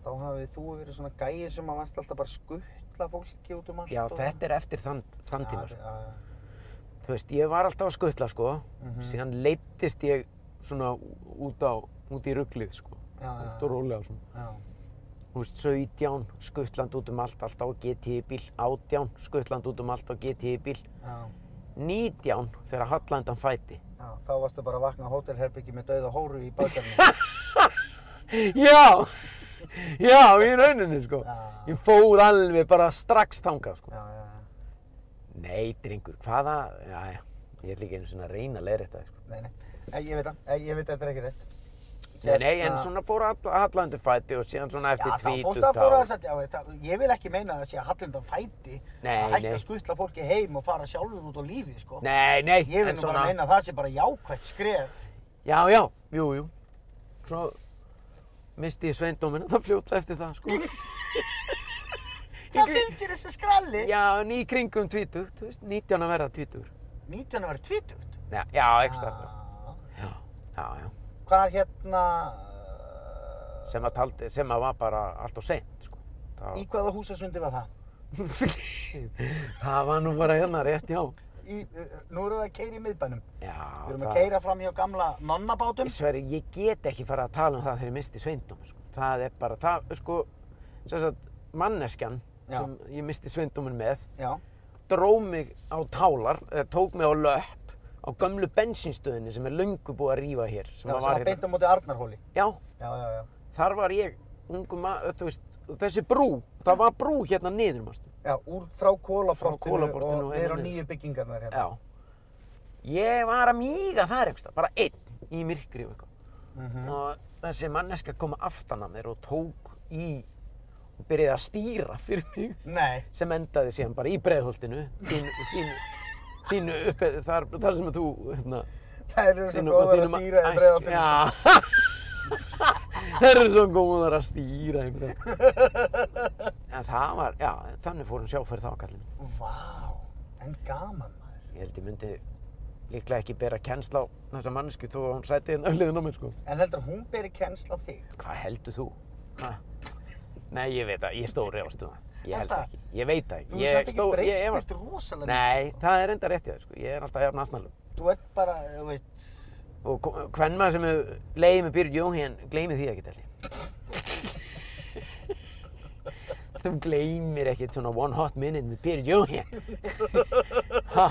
Speaker 2: að þá hafið þú verið svona gæi sem að varst alltaf bara að skuttla fólki út um allt
Speaker 1: Já,
Speaker 2: og...
Speaker 1: þetta er eftir þann, þann tíma, sko.
Speaker 2: Já, já,
Speaker 1: Þú veist, ég var alltaf að skuttla, sko.
Speaker 2: Mhm.
Speaker 1: Síðan leittist ég svona út á, út í rugglið, sko.
Speaker 2: já,
Speaker 1: Hægt og
Speaker 2: Ah, já,
Speaker 1: rólega, svona.
Speaker 2: já.
Speaker 1: Þú veist, 17, skuttland út um allt, alltaf á GTI bíl. 18, skuttland út um allt á GTI bíl.
Speaker 2: Já,
Speaker 1: 19, þegar að halla undan fæti.
Speaker 2: já, þá varstu bara að vakna á hótelherbyggi með dauða hóru í bakarinn.
Speaker 1: Já! Já, í rauninni, sko.
Speaker 2: Já, já,
Speaker 1: Ég fór alveg bara strax þangað, sko.
Speaker 2: já, já.
Speaker 1: Nei, drengur, hvaða? Já, já. Ég ætla ekki einu svona að reyna að leiðrétta það, sko.
Speaker 2: Nei, nei, nei, ég veit það, nei, ég veit að þetta er ekki rétt.
Speaker 1: Nei, nei, en
Speaker 2: Hérna-
Speaker 1: svona fór all, halla undan fæti og síðan svona eftir
Speaker 2: Já, þá
Speaker 1: tvítugt
Speaker 2: fórstu að fóra þess að, já, þetta, ég vil ekki meina að það sé að Hallindan fæti
Speaker 1: Nei,
Speaker 2: að hætta
Speaker 1: nei.
Speaker 2: að skuttla fólki heim og fara sjálfur út á lífið, sko.
Speaker 1: Nei, nei,
Speaker 2: ég vil
Speaker 1: en
Speaker 2: nú bara
Speaker 1: svona,
Speaker 2: meina að það sé bara jákvætt skref.
Speaker 1: já, já, jú, jú. Svo misti ég sveindóminn að það fljóta eftir það, sko.
Speaker 2: Það fylgir þessi skralli.
Speaker 1: já, en í kringum tvítugt, þú veist, 19 að verða tvítugur.
Speaker 2: 19 var tvítugt.
Speaker 1: Já, já, ekki starf.
Speaker 2: Ah.
Speaker 1: Já, já, já.
Speaker 2: Hvað er hérna,
Speaker 1: Sem að, taldi, sem að var bara allt og seint, sko. Það,
Speaker 2: í hvaða húsasundi var það?
Speaker 1: það var nú bara hérna rétt, já.
Speaker 2: Í, uh, nú erum við að keira í miðbænum.
Speaker 1: Já,
Speaker 2: Við erum að keira fram hjá gamla nonnabátum.
Speaker 1: Ég sverju, ég get ekki fara að tala um það þegar ég misti sveindóminn, sko. Það er bara, það, sko, sem sagt, manneskjan
Speaker 2: Já.
Speaker 1: sem ég misti sveindóminn með,
Speaker 2: Já,
Speaker 1: dró mig á tálar, eða tók mig á löpp á gömlu bensínstöðinni sem er löngu búið að rífa hér.
Speaker 2: já, sem að
Speaker 1: hérna.
Speaker 2: beinta mútið Arnarhóli.
Speaker 1: Já,
Speaker 2: Já, já, já.
Speaker 1: þar var ég, ungu maður, þú veist, og þessi brú, það var brú hérna niður, mástu.
Speaker 2: Já, úr frá kólaportinu
Speaker 1: Kolaportinu
Speaker 2: og
Speaker 1: og
Speaker 2: niður á
Speaker 1: inn í-
Speaker 2: nýju byggingarnar hérna.
Speaker 1: Já. Ég var að míga þar eitthvað, bara einn í myrkri og eitthvað.
Speaker 2: Mhm.
Speaker 1: Og þessi manneska kom aftan að mér og tók í, og byrjaði að stýra fyrir mig.
Speaker 2: Nei,
Speaker 1: sem endaði síðan bara í breiðholtinu þínu, þínu, þínu upp, þar, þar sem að þú hérna,
Speaker 2: þær eru svo góðar að stýra í breiðaltinu.
Speaker 1: breiðholtinu Það eru svo góðar að stýra í breiðholtinu En það var, já, þannig fór hún sjáfæri þá kallinn
Speaker 2: Vá, en gaman maður.
Speaker 1: Ég held ég myndi líklega ekki bera kennsla á þessa mannesku þó að hún sæti hérna auðliðin á mér sko
Speaker 2: En heldur að hún beri kennsl á þig?
Speaker 1: Hvað heldur þú? Ha? Nei, ég veit það, ég stóri ástu það Ég held
Speaker 2: Er það?
Speaker 1: ekki, ég veit það ekki
Speaker 2: Þú
Speaker 1: Ég
Speaker 2: er samt ekki
Speaker 1: stór- ég
Speaker 2: breyst
Speaker 1: efast.
Speaker 2: eftir rosalega
Speaker 1: Nei, það er enda rétt hjá þér sko, ég er alltaf jafn aðsnalum
Speaker 2: mikið. Þú ert bara, þú veist,
Speaker 1: Og hvern maður sem hefur leiðið með Byrjur Jóhén, gleymið því ekki telli. Þú gleymir ekkert svona one hot minute með Byrjur Jóhén. Ha?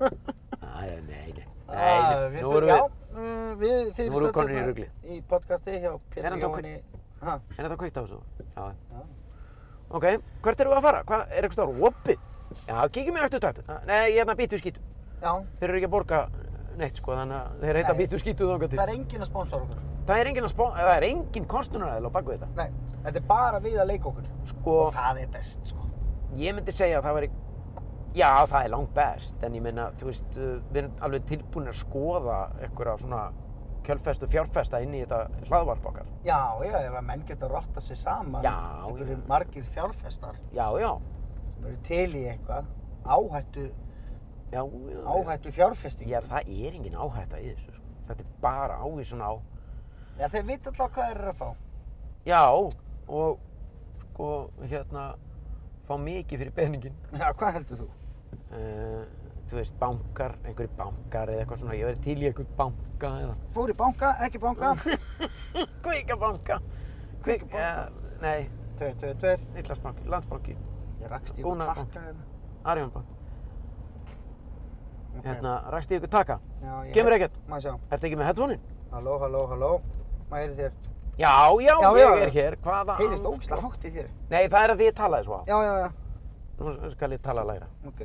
Speaker 1: Æ, nei, nei. Nei,
Speaker 2: að
Speaker 1: nei.
Speaker 2: við
Speaker 1: Nú
Speaker 2: þurfum,
Speaker 1: erum
Speaker 2: Ah, já,
Speaker 1: við,
Speaker 2: uh, við þið
Speaker 1: Nú erum við komin í ruglið.
Speaker 2: Í podcasti hjá
Speaker 1: Er
Speaker 2: Pétur
Speaker 1: hann þá
Speaker 2: Jóni. Ha,
Speaker 1: er þetta kveikt á þessu? Já.
Speaker 2: Já.
Speaker 1: Ok, hvert erum við að fara? Hvað, er eitthvað stór? Whoppið? Já, kíkjum við eftir tættu. Ah, Nei, ég hefna býtu skýtu.
Speaker 2: já,
Speaker 1: Þeir eru ekki að borga neitt, sko, þannig að þeir heita
Speaker 2: Nei.
Speaker 1: býtu skýtu þangað
Speaker 2: það
Speaker 1: til.
Speaker 2: er engin að sponsora okkur.
Speaker 1: Það er engin, að spá- það er engin kostunaræðil á baku þetta.
Speaker 2: Nei, þetta er bara við að leika okkur.
Speaker 1: Sko,
Speaker 2: Og það er best, sko.
Speaker 1: Ég myndi segja að það væri, já það er langt best, en ég meina, þú veist, uh, við erum alveg tilbúin að skoða einhverja svona kjölfest og fjárfesta inn í þetta hlaðvarp okkar.
Speaker 2: Já, já, ef að menn geta rotta sig saman,
Speaker 1: Já,
Speaker 2: einhverjir
Speaker 1: já.
Speaker 2: margir fjárfestar
Speaker 1: Já, já,
Speaker 2: sem eru til í eitthvað, áhættu,
Speaker 1: já, já.
Speaker 2: áhættu fjárfesting.
Speaker 1: Já, það er engin áhætta í þessu, sko. Þetta er bara ávísun á,
Speaker 2: Já, þeir vita alltaf hvað þeir eru að fá.
Speaker 1: já, og sko, hérna, fá mikið fyrir peningin.
Speaker 2: Já, hvað heldur þú?
Speaker 1: Uh, þú veist, bankar, einhverjir bankar eða eitthvað svona, ég verið til í einhver banka eða
Speaker 2: Fór í banka, ekki banka,
Speaker 1: Kvíkabanka. Kvík,
Speaker 2: Kvikbanka.
Speaker 1: ja, eh, nei,
Speaker 2: tveir, tveir, tveir.
Speaker 1: Íslandsbanki, Landsbanki,
Speaker 2: Ég rakst í
Speaker 1: Búnaðarbank.
Speaker 2: að pakka hérna.
Speaker 1: Arjónbanki.
Speaker 2: Ok.
Speaker 1: Hérna, rakst ég ykkur taka?
Speaker 2: Já, ég-
Speaker 1: Kemur ekkert?
Speaker 2: Má ég sjá.
Speaker 1: Ertu ekki með headphone-in?
Speaker 2: Halló, halló, halló. Má ég heyri þér.
Speaker 1: Já, já,
Speaker 2: Já,
Speaker 1: ég
Speaker 2: já,
Speaker 1: er
Speaker 2: já.
Speaker 1: hér. Hvaða
Speaker 2: Heyrist
Speaker 1: andskot-
Speaker 2: ógislega hátt í þér.
Speaker 1: Nei, það er að því ég talaði svo á.
Speaker 2: sko. Já, já, já.
Speaker 1: Nú skal ég tala lægra.
Speaker 2: Ok.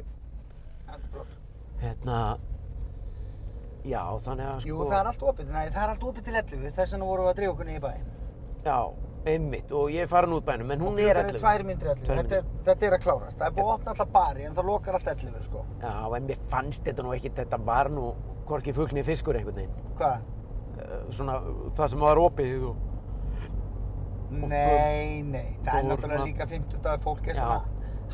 Speaker 2: Þetta er blokk.
Speaker 1: Hérna, já, þannig að sko...
Speaker 2: Jú, það er allt opið. Nei, það er allt opið til 11. Þess vegna vorum við að drífa okkur niður í bæinn.
Speaker 1: Já, einmitt, og ég er farin út bænum, en hún
Speaker 2: Klukkan
Speaker 1: er 11.
Speaker 2: Tvær myndir 11.
Speaker 1: Tvær
Speaker 2: Þetta er, þetta er að klárast. Það er búið að opna alltaf bari en það lokar allt 11, sko.
Speaker 1: Já, en mér fannst þetta nú ekkert, þetta var nú hvorki fuglni fiskur einhvern veginn.
Speaker 2: Hvað?
Speaker 1: Eh, Svona, það sem var opið og...
Speaker 2: Nei, nei. Það er
Speaker 1: Dór,
Speaker 2: náttúrulega
Speaker 1: ma-
Speaker 2: líka 50 dagar fólk er
Speaker 1: Já.
Speaker 2: svona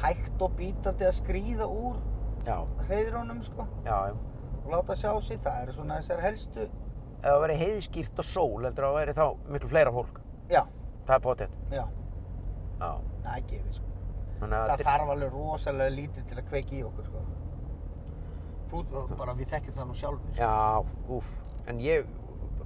Speaker 2: hægt og bítandi að skríða úr
Speaker 1: Já,
Speaker 2: hreyðrónum, sko.
Speaker 1: já, já.
Speaker 2: Og láta sjá sig. Það eru svona þessar helstu.
Speaker 1: Ef það væri heiðskýrt og sól, heldur það væri þá miklu fleira fólk.
Speaker 2: Já,
Speaker 1: Það er potið.
Speaker 2: já.
Speaker 1: Já.
Speaker 2: Það er gefið, sko.
Speaker 1: Þannig að...
Speaker 2: Það þarf alveg rosalega lítið til að kveiki í okkur, sko. Þú, bara við þekkjum það nú sjálfur.
Speaker 1: Já, úf. En ég,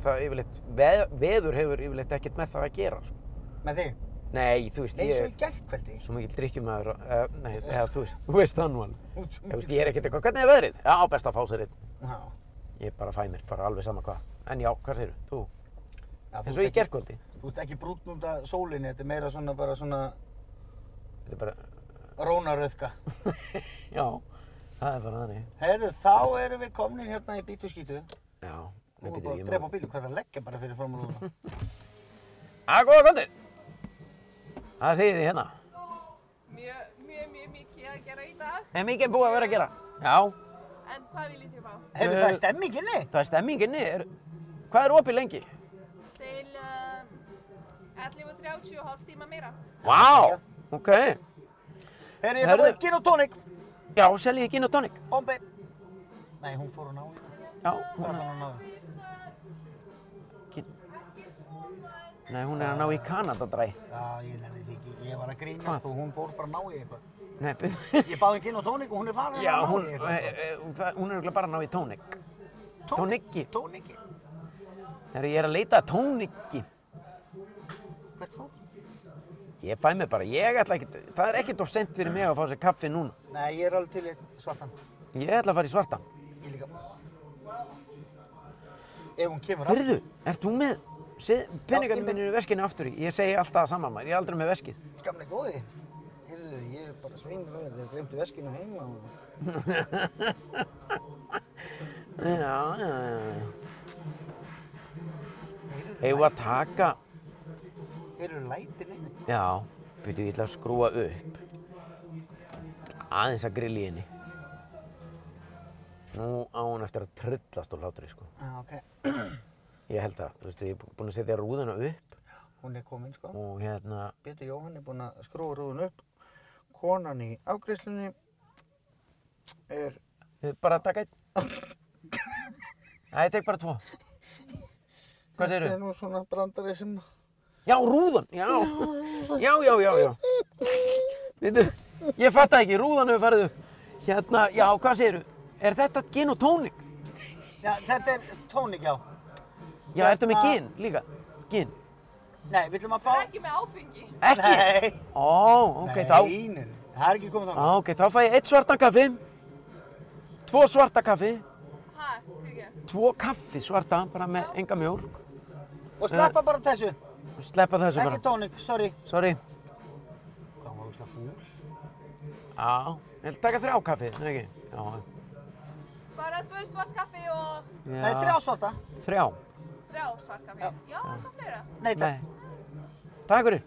Speaker 1: það yfirleitt, veð, veður hefur yfirleitt ekkert með það að gera, sko.
Speaker 2: Með þig.
Speaker 1: Nei, þú veist,
Speaker 2: Eins og
Speaker 1: ég
Speaker 2: í gærkveldi.
Speaker 1: er svo mikil drikkjumæður, uh, nei, eða þú veist, þú veist þann mann.
Speaker 2: Út svo
Speaker 1: Ég veist,
Speaker 2: mikið-
Speaker 1: ég er ekkert eitthvað, hvernig er veðrið? Já, best að fá sér einn.
Speaker 2: Já.
Speaker 1: Ég bara fæ mér, bara alveg sama hvað. En já, hvað segirðu? Þú?
Speaker 2: Já, þú
Speaker 1: Eins
Speaker 2: ert
Speaker 1: og
Speaker 2: ekki-
Speaker 1: ég gerkvöldi.
Speaker 2: Þú ert ekki brúnn út af sólinni, þetta er meira svona bara svona
Speaker 1: Þetta er bara,
Speaker 2: rónaröðka.
Speaker 1: já, það er bara þannig.
Speaker 2: Herru, þá erum við komnir hérna í bítu skítu.
Speaker 1: Já,
Speaker 2: Nú
Speaker 1: nei,
Speaker 2: erum
Speaker 1: býtu,
Speaker 2: við að
Speaker 1: ég
Speaker 2: drepa
Speaker 1: má...
Speaker 2: á bílu, hvað er að leggja bara fyrir fram og lúna?
Speaker 1: Að, Ah, góða kvöldið! Það segið þið hérna.
Speaker 4: Mjög, mjög, mjög mikið að gera í dag,
Speaker 1: En mikið er búið að vera að gera. Já,
Speaker 4: en hvað viljið þið fá?
Speaker 2: Herru, það er stemminginni!
Speaker 1: það er stemminginni. Er, hvað er opið lengi?
Speaker 4: Til um, 11.30 og hálf tíma meira.
Speaker 1: Vá, ok.
Speaker 2: Herru, ég þarf
Speaker 1: Herru.
Speaker 2: að gin og tónik!
Speaker 1: Já, seljið ekki inn á tónik.
Speaker 2: Bombi! Nei, hún fór að ná í það.
Speaker 1: Já,
Speaker 2: Hvað
Speaker 1: hún
Speaker 2: var
Speaker 1: er,
Speaker 2: hann að ná í?
Speaker 1: ekki- nei, hún er að ná í Kanadadræ.
Speaker 2: Já, ég nenni því ekki. Ég var að grínast
Speaker 1: Hvað?
Speaker 2: og hún fór bara að ná í eitthvað.
Speaker 1: Nei, byrðu.
Speaker 2: Ég báði gin og tónik og hún er farin
Speaker 1: Já,
Speaker 2: að ná
Speaker 1: hún,
Speaker 2: í
Speaker 1: e,
Speaker 2: eitthvað.
Speaker 1: e, það- hún er örugglega bara að ná í tónik. tónikki.
Speaker 2: Tónikki.
Speaker 1: Þegar ég er að leita að tónikki,
Speaker 2: Hvert fór?
Speaker 1: ég fæ mig bara, ég ætla ekkert, það er ekkert of sent fyrir mig að fá sér kaffi núna.
Speaker 2: Nei, ég er alveg til í svartan.
Speaker 1: Ég ætla að fara í svartan.
Speaker 2: Ég líka. Ef hún kemur aftur.
Speaker 1: Hörðu, ert þú með
Speaker 2: Já, ég
Speaker 1: peningarnir
Speaker 2: með-
Speaker 1: minnir í veskinu aftur í? Ég segi alltaf það saman maður, ég er aldrei með veskið.
Speaker 2: Gamli góði, heyrðu, ég er bara sveinur og þeir glemtu veskinu heima og...
Speaker 1: Já, já, já, já.
Speaker 2: Heyrðu,
Speaker 1: Eigum við að taka,
Speaker 2: heyrðu lætin inni.
Speaker 1: já, byrju, ég ætla að skrúa upp. Aðeins að grilla í henni. Nú á hún eftir að trillast og hlátur í sko.
Speaker 2: Já, ok.
Speaker 1: Ég held það, þú veist, ég er búinn að setja rúðuna upp
Speaker 2: Hún er komin, sko.
Speaker 1: og hérna,
Speaker 2: Pétur Jóhann er búinn að skrúa rúðun upp. Konan í afgreiðslunni er...
Speaker 1: þið bara taka einn. Æ, ég tek bara tvo. Hvað
Speaker 2: Þetta
Speaker 1: segirðu?
Speaker 2: er nú svona brandari sem...
Speaker 1: Já, rúðan, já. Já, já, já, já. Veitu, ég fatt ekki, rúðan hefur farið upp. Hérna, já, hvað segirðu? Er þetta gin og tónik?
Speaker 2: Já, þetta er tónik, já.
Speaker 1: Já,
Speaker 2: Hérna-
Speaker 1: ertu með gin líka? Gin?
Speaker 2: Nei, villum að fá...
Speaker 4: Það er ekki með áfengi.
Speaker 1: Ekki?
Speaker 2: Nei.
Speaker 1: Ó, ok, þá,
Speaker 2: Nei, nei, nei. það er ekki komið þá.
Speaker 1: á, ok, þá fæ ég eitt svartan kaffi, tvo svarta kaffi,
Speaker 4: Hæ, fyrir ekki.
Speaker 1: tvo kaffi svarta, bara með enga mjólk.
Speaker 2: Og sleppa bara þessu.
Speaker 1: Sleppa þessu
Speaker 2: Ekki
Speaker 1: bara.
Speaker 2: tónik, sorry.
Speaker 1: Sorry.
Speaker 2: Hvað var úrslega fúl?
Speaker 1: Já, ég vil taka þrjá kaffi, eða ekki? Já.
Speaker 4: Bara tvö svart kaffi og
Speaker 1: já.
Speaker 2: Nei, þrjá svarta.
Speaker 1: Þrjá.
Speaker 4: þrjá svart kaffi. Já, hvað fleira?
Speaker 2: Nei, takk.
Speaker 1: Nei. Takk fyrir.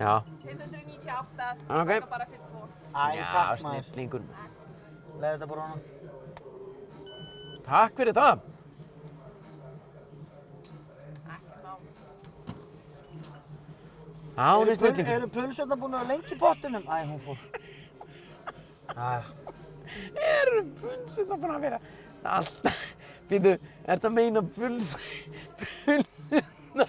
Speaker 1: Já.
Speaker 4: 598, ég
Speaker 1: Ok.
Speaker 4: taka bara fyrir tvo.
Speaker 2: Æ,
Speaker 1: Já,
Speaker 2: takk maður.
Speaker 1: snillingur.
Speaker 2: Leðu þetta bara á hana.
Speaker 1: Takk fyrir það.
Speaker 4: Ekki mál.
Speaker 1: Já, hún er snillin.
Speaker 2: Eru pulsöðna búin að vera lengi í pottinum? Æ, hún fór. Æ,
Speaker 1: Eru pulsið það búin að vera? Alltaf, býtu, er það meina puls, pulsina,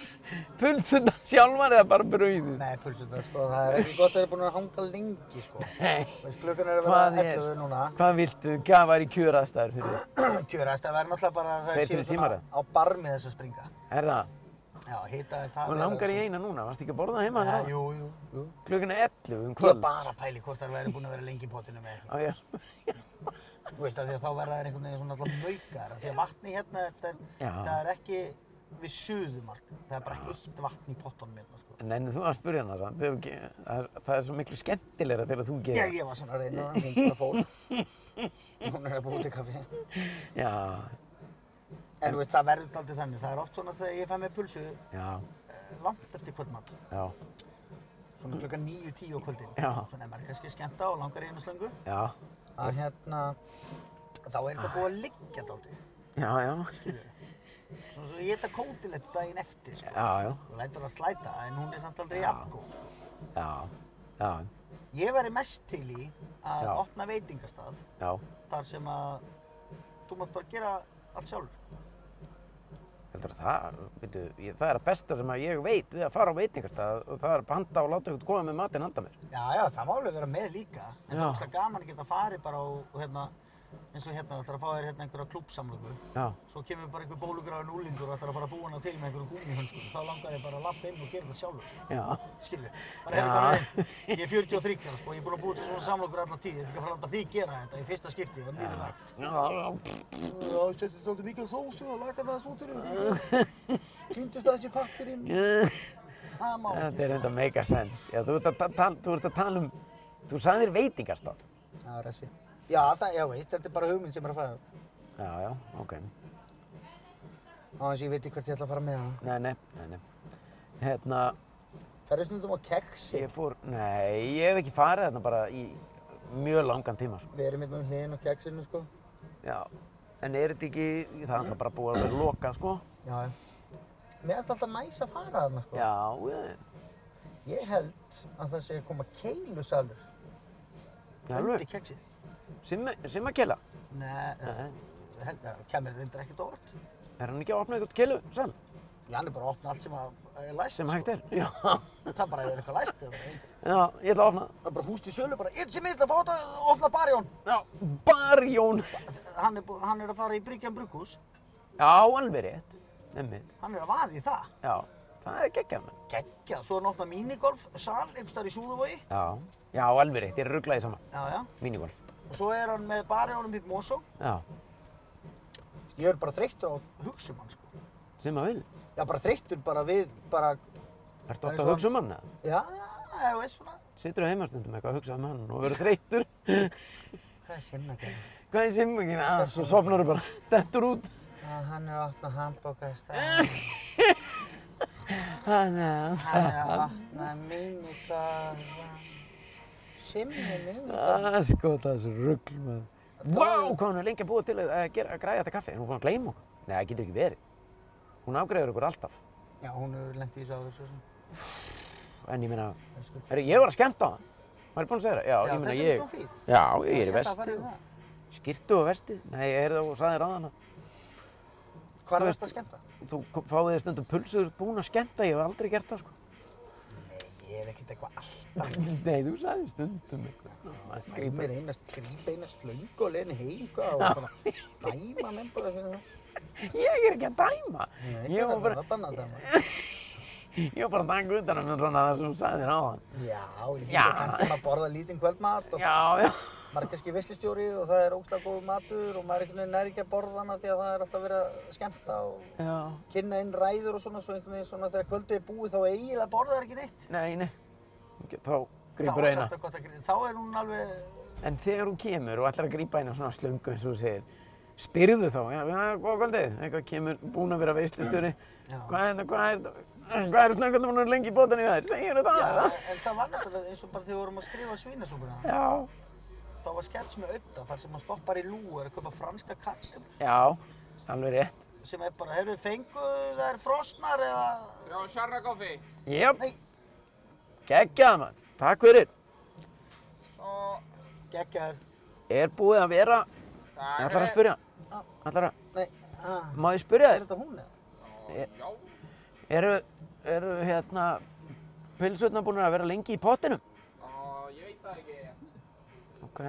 Speaker 1: pulsina sjálfar eða bara brauðið?
Speaker 2: nei, pulsöðna, sko, það er ekki gott að það er búin að hanga lengi, sko.
Speaker 1: Nei,
Speaker 2: Veist, klukkan er að
Speaker 1: Hvað
Speaker 2: vera
Speaker 1: er?
Speaker 2: 11 núna.
Speaker 1: hvað viltu, hvað var í kjöraðstæður fyrir þér?
Speaker 2: Kjörast, það er náttúrulega bara að það
Speaker 1: Tveir,
Speaker 2: séu
Speaker 1: þrír
Speaker 2: svona
Speaker 1: tímar,
Speaker 2: á barmi þess að springa.
Speaker 1: Er það?
Speaker 2: Já, hita er það.
Speaker 1: Hún langar í eina núna, varst ekki að borða heima
Speaker 2: Já,
Speaker 1: þér áðan?
Speaker 2: jú, jú, jú.
Speaker 1: Klukkuna 11 um
Speaker 2: Ég er
Speaker 1: kvöld.
Speaker 2: bara að pæli hvort það væri búin að vera lengi í pottinum eða eitthvað.
Speaker 1: Á, já.
Speaker 2: Þú veist, af því að þá verða þær einhvern veginn svona alltaf maukar. af Því að vatni hérna, er, það,
Speaker 1: Já.
Speaker 2: er, það er ekki við suðumark. Það er bara heitt vatn í pottunum hérna, sko.
Speaker 1: En ennum þú að spurja hana samt, þegar þú ge- það er- það er svo miklu skemmtilegra þegar þú
Speaker 2: Já,
Speaker 1: gerir.
Speaker 2: ég var svona að reyna það, hún bara fór. Hún er að búið til kaffi.
Speaker 1: Já,
Speaker 2: En þú veist, það verður aldrei þannig. Það er oft svona þegar ég fæ með pulsu
Speaker 1: já,
Speaker 2: eh, langt eftir kvöldmatt.
Speaker 1: já,
Speaker 2: Svona klukkan 9-10 á kvöldin.
Speaker 1: Já.
Speaker 2: Svona er maður kannski að skemmta og langar í einu slöngu.
Speaker 1: já,
Speaker 2: Að hérna, þá er þetta búið að liggja dálítið.
Speaker 1: já, já,
Speaker 2: Svona svo ég geta kótilegt daginn eftir, sko.
Speaker 1: já, já,
Speaker 2: Þú lætur að slæta, en hún er samt aldrei jafngóð.
Speaker 1: já, já,
Speaker 2: Ég væri mest til í að
Speaker 1: Já.
Speaker 2: opna veitingastað
Speaker 1: já,
Speaker 2: þar sem að þú mátt bara gera allt sjálfur.
Speaker 1: heldur það, byrju, ég, það er að besta sem að ég veit við að fara á veitingarstað og það er að panta og láta ykkur koma með matinn handa mér.
Speaker 2: Já, já, það má alveg vera með líka. En það
Speaker 1: Já.
Speaker 2: er óslega gaman að geta farið bara og, og hérna, eins og hérna, þú ætlar að fá þér hérna einhverja klúbsamlöku.
Speaker 1: Já,
Speaker 2: Svo kemur bara einhver bólugráðin úlingur og ætlar að fara að búa hana til með einhverjum gúmihönskum. Þá langar þér bara að lappa inn og gera það sjálfur, sko.
Speaker 1: já,
Speaker 2: Skilvið.
Speaker 1: Já.
Speaker 2: Bara hefði það Ég er 43 ára, sko. Ég er búinn að búa til svona samlökur alla tíð. Ég ætla ekki að fara að láta þig gera þetta í fyrsta skipti. Það er mjög lagt.
Speaker 1: já,
Speaker 2: Já, ég setti svolítið mikið sósu og lakaði það sótur yfir. Klýndist það þessi pappirinn.
Speaker 1: já.
Speaker 2: Það Ah, má
Speaker 1: Þetta
Speaker 2: ekki.
Speaker 1: er enda mega sens. Já, þú ert að, ta tala- þú ert að tala um, þú sagðir veitingarstað.
Speaker 2: Já, ressi. Já, það, já veist, þetta er bara hugmynd sem er að fæðast.
Speaker 1: Já, já, ok.
Speaker 2: Á þess að ég veit ekki hvert ég ætla að fara með hana.
Speaker 1: Nei, nei, nei, nei. Hérna,
Speaker 2: Ferðu stundum á keksi.
Speaker 1: ég fór, nei, ég hef ekki farið þarna bara í mjög langan tíma, sko.
Speaker 2: Við erum hérna um hliðin á keksinu, sko.
Speaker 1: Já, en er þetta ekki, það er alltaf bara búið að vera lokað, sko.
Speaker 2: Já, já. Mér finnst alltaf næs að fara þarna, sko.
Speaker 1: Já, ég,
Speaker 2: Ég held að það sé að koma keilusalur
Speaker 1: já, alveg.
Speaker 2: undir keksið.
Speaker 1: Simma, simma kela.
Speaker 2: Nei, eh,
Speaker 1: Nei,
Speaker 2: ég held að kemur reyndar ekkert á óvart.
Speaker 1: er hann ekki að opna eitthvað kelu, sel,
Speaker 2: Já, hann er bara að opna allt sem að er læst,
Speaker 1: sem hægt
Speaker 2: sko.
Speaker 1: er? Já,
Speaker 2: Það bara er eitthvað læst. eða eitthvað.
Speaker 1: já, ég ætla að opna.
Speaker 2: Það er bara húst í sölu, bara einn sem ég ætla að fá þetta að opna barjón.
Speaker 1: Já, barjón.
Speaker 2: Hann er, bú- hann er að fara í Bryggjan Brugghús,
Speaker 1: Já, alveg rétt. Nefnir,
Speaker 2: hann er að vaði í það.
Speaker 1: já, það er geggjað, menn.
Speaker 2: Geggjað, svo er hann að opna minigolf, sal, einhvers staðar í Súðavogi.
Speaker 1: Já, já, alveg rétt, ég rugglaði saman.
Speaker 2: Já, já.
Speaker 1: Minigolf.
Speaker 2: Og svo er hann með barjónum í Mosó.
Speaker 1: Já,
Speaker 2: Ég er bara þreyttur á að hugsa um hann, sko.
Speaker 1: simma vil.
Speaker 2: Já, bara þreyttur bara við, bara,
Speaker 1: Ertu
Speaker 2: Það
Speaker 1: ofta
Speaker 2: er
Speaker 1: að
Speaker 2: svo-
Speaker 1: hugsa um hann, eða?
Speaker 2: já, ég veist svona.
Speaker 1: Sittur heima stundum eitthvað að hugsa um hann og verður þreyttur.
Speaker 2: Hvað er sinna að gera?
Speaker 1: Hvað er simmingin? Ah, svo sopnar þú bara, dettur út.
Speaker 2: Já, hann er að opna hambóka í staðan.
Speaker 1: Þannig
Speaker 2: Hann er að opna minigolf. Simmi minigolf.
Speaker 1: að sko það er svo ruggl maður. Vá, hvað hann er lengi að búa til að, að, gera, að græja þetta kaffi. Hún er búin að gleyma okkur. Nei, það getur ekki verið. Hún ágreifur okkur alltaf.
Speaker 2: Já, hún hefur lent í þessu áður svo sem.
Speaker 1: En ég meina,
Speaker 2: Veistu.
Speaker 1: herri, ég var að skemmta á hann. Maður er búin að segja það. Já,
Speaker 2: Já,
Speaker 1: ég meina
Speaker 2: þessi er
Speaker 1: ég.
Speaker 2: svo fín.
Speaker 1: Já, ég er í
Speaker 2: ætla að fara
Speaker 1: vesti.
Speaker 2: í það.
Speaker 1: Skirtu og vesti. Nei, ég heyrði og saði ráðan að
Speaker 2: Hvað
Speaker 1: Þú
Speaker 2: er
Speaker 1: veist-
Speaker 2: þetta að skemmta?
Speaker 1: þú kom- fáið þér stundum pulsur búin að skemmta. Ég hef aldrei gert það, sko.
Speaker 2: Nei, ég er ekkert eitthvað alltaf.
Speaker 1: Nei, þú sagði stundum eitthvað. Ná, maður fær
Speaker 2: Ég er eina skrýp, eina slöngu og leiðin heika og bara dæma menn bara fyrir það.
Speaker 1: Ég er ekki að dæma. ég, var bara,
Speaker 2: Það var bara dæma.
Speaker 1: ég var bara að danga utan hann svona það sem hún sagði þér á hann.
Speaker 2: Já, ég finnst
Speaker 1: Já.
Speaker 2: að kannski maður borða lítinn kvöldmat og
Speaker 1: Já, já.
Speaker 2: maður er kannski veslustjóri og það er ógslag góð matur og maður er einhvern veginn nær ekki að borða hana því að það er alltaf verið að skemmta og
Speaker 1: Já,
Speaker 2: kynna inn ræður og svona svo einhvern veginn svona þegar kvöldið er búið þá eiginlega borða það ekki neitt.
Speaker 1: nei, nei. Ok, Þá
Speaker 2: Þá
Speaker 1: grýpur
Speaker 2: er
Speaker 1: eina.
Speaker 2: alltaf gott að grí- Þá er hún alveg,
Speaker 1: En þegar hún kemur og ætlar að grípa eina svona slöngu eins og þú segir, spyrðu þá, já, já, góða kvöldið, eitthvað kemur búin að vera veislustjóri,
Speaker 2: Já.
Speaker 1: hvað er þetta, hvað er þetta, hvað eru slöngarnir búin að vera lengi í bótan í þær, segir þetta
Speaker 2: já,
Speaker 1: það?
Speaker 2: en það var náttúrulega eins og bara þegar við vorum að skrifa svínasúpuna.
Speaker 1: Já,
Speaker 2: þá var skets með auða þar sem hann stoppar í lúu er að köpa franska kartum
Speaker 1: Já, alveg rétt.
Speaker 2: sem er bara, heyrðu, fengu þær frosnar eða...
Speaker 5: Þrjá sjarra koffi.
Speaker 1: Jáp,
Speaker 2: Nei,
Speaker 1: geggjað mann. Takk fyrir.
Speaker 5: Svo,
Speaker 2: geggjar.
Speaker 1: Er búið að vera...
Speaker 5: það
Speaker 1: Ég ætlar að spyrja. Ætlar að...
Speaker 2: Nei, ha,
Speaker 1: Má ég spyrja
Speaker 2: er
Speaker 1: þér?
Speaker 2: þetta hún eða?
Speaker 5: Já,
Speaker 1: Eru, eru hérna... Pilsutna búin að vera lengi í pottinum?
Speaker 5: á, ég veit það ekki.
Speaker 1: Ok.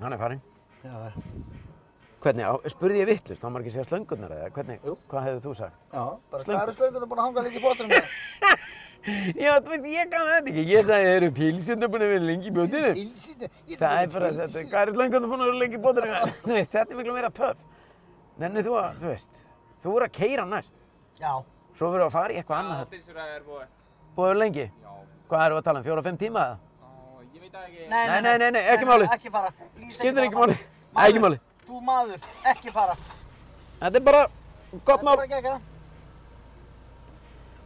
Speaker 1: Hann er farinn.
Speaker 2: Já,
Speaker 1: Hvernig, á, spurði ég vittlust, þá má ekki segja slöngurnar eða hvernig,
Speaker 2: Jú.
Speaker 1: hvað hefðu þú sagt?
Speaker 2: já, bara
Speaker 1: Slöngur.
Speaker 2: hvað eru slöngunum búin að hanga líka í bóttunum með?
Speaker 1: Já, þú veist, ég kann þetta ekki, ég sagði, eru pilsutna búin að vera lengi í pottinum?
Speaker 2: Pilsið, ég
Speaker 1: Það er bara þetta, hvað er lengur þú búin að vera lengi í bótinu? þú veist, þetta er miklu meira töff. Nenni þú að, þú veist, þú er að keyra næst.
Speaker 2: Já,
Speaker 1: Svo verður að fara í eitthvað annað. þetta.
Speaker 5: Aðeinsur að það er búið.
Speaker 1: Búið að vera lengi.
Speaker 5: Já,
Speaker 1: Hvað erum við að tala um, fjóra, fimm tíma eða?
Speaker 5: á, ég veit það ekki.
Speaker 1: Nei, nei, nei, nei, ekki máli.
Speaker 2: Ekki fara, please
Speaker 1: Skiptir ekki máli.
Speaker 2: Maður,
Speaker 1: Ekki máli.
Speaker 2: Þú maður, ekki fara.
Speaker 1: Þetta er bara gott mál.
Speaker 2: Þetta er bara gegga.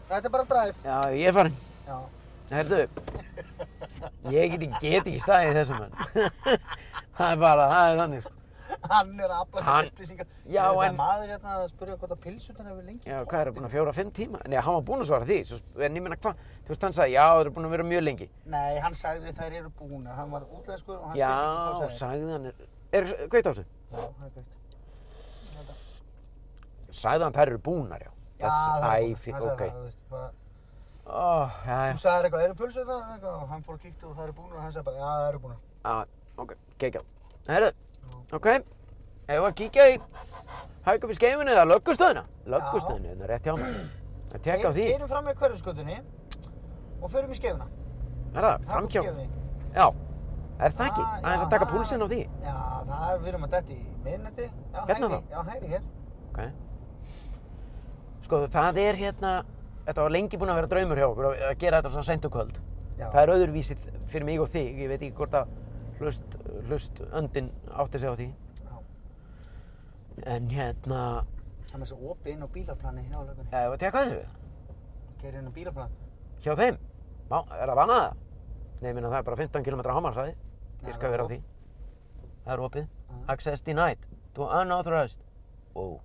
Speaker 2: Þetta er bara drive.
Speaker 1: Já, ég er farin.
Speaker 2: Já.
Speaker 1: Herðu, ég get, ekki- get ekki staðið í þessum mann. það er bara, það er þannig. sko.
Speaker 2: Hann er að afla
Speaker 1: Hann-
Speaker 2: sér upplýsingar.
Speaker 1: Já,
Speaker 2: Það er
Speaker 1: en-
Speaker 2: maður hérna að spyrja hvort að pilsutan hefur lengi.
Speaker 1: Já, hvað er búin að fjóra, fimm tíma? Nei, hann var búin að svara því, svo, en ég menna hvað? Þú veist, hann sagði, já, það eru búin að vera mjög lengi.
Speaker 2: Nei, hann sagði þær eru búnar. Hann var útlenskur og hann
Speaker 1: Já,
Speaker 2: skildi ekki hvað
Speaker 1: sagði hann, er, er, kveit á þessu?
Speaker 2: sagði. Já, það er gætt.
Speaker 1: Sagði hann þær eru búnar, já.
Speaker 2: Já, það er
Speaker 1: Æ,
Speaker 2: búnar.
Speaker 1: fí-
Speaker 2: Hann sagði
Speaker 1: ok.
Speaker 2: það, þú veist, bara-
Speaker 1: Ó, já, já,
Speaker 2: Þú sagði eitthvað, eru pilsutan? Og hann fór að kíkta og það eru búnar og hann sagði bara, já, það eru búnar.
Speaker 1: já, Ah, ok, geggjá. Herru, ok, ef að kíkja í, hæg upp í skeifunni eða löggustöðina? Löggustöðinu, þetta er rétt hjá mér. Að tekka á því,
Speaker 2: Keirum fram með hverfiskötunni og förum í skefuna.
Speaker 1: er það, framkjá, já, er það ekki,
Speaker 2: Ah, já,
Speaker 1: aðeins að taka
Speaker 2: það-
Speaker 1: púlsinn á því,
Speaker 2: Já, það er, við erum að detti í miðnætti. Já,
Speaker 1: Hérna
Speaker 2: hægri,
Speaker 1: þá?
Speaker 2: já, hægri hér.
Speaker 1: ok. Sko, það er hérna, þetta var lengi búin að vera draumur hjá okkur að að gera þetta svona seint og kvöld.
Speaker 2: Já.
Speaker 1: Það er öðruvísið fyrir mig og þig, ég veit ekki hvort að hlust, hlust öndin átti sig á því.
Speaker 2: Já.
Speaker 1: En hérna,
Speaker 2: Það er svo opið inn á bílaplani hjá lögunni.
Speaker 1: ef að tekka þessu,
Speaker 2: Gerir inn á bílaplan.
Speaker 1: hjá þeim, Má, er það vanað það? Nei, ég minna það er bara 15 km hámarsæði,
Speaker 2: Já,
Speaker 1: ég skal vera á
Speaker 2: það
Speaker 1: því.
Speaker 2: er
Speaker 1: Það er opið.
Speaker 2: Mhm.
Speaker 1: Access denied, to unauthorized. Ó,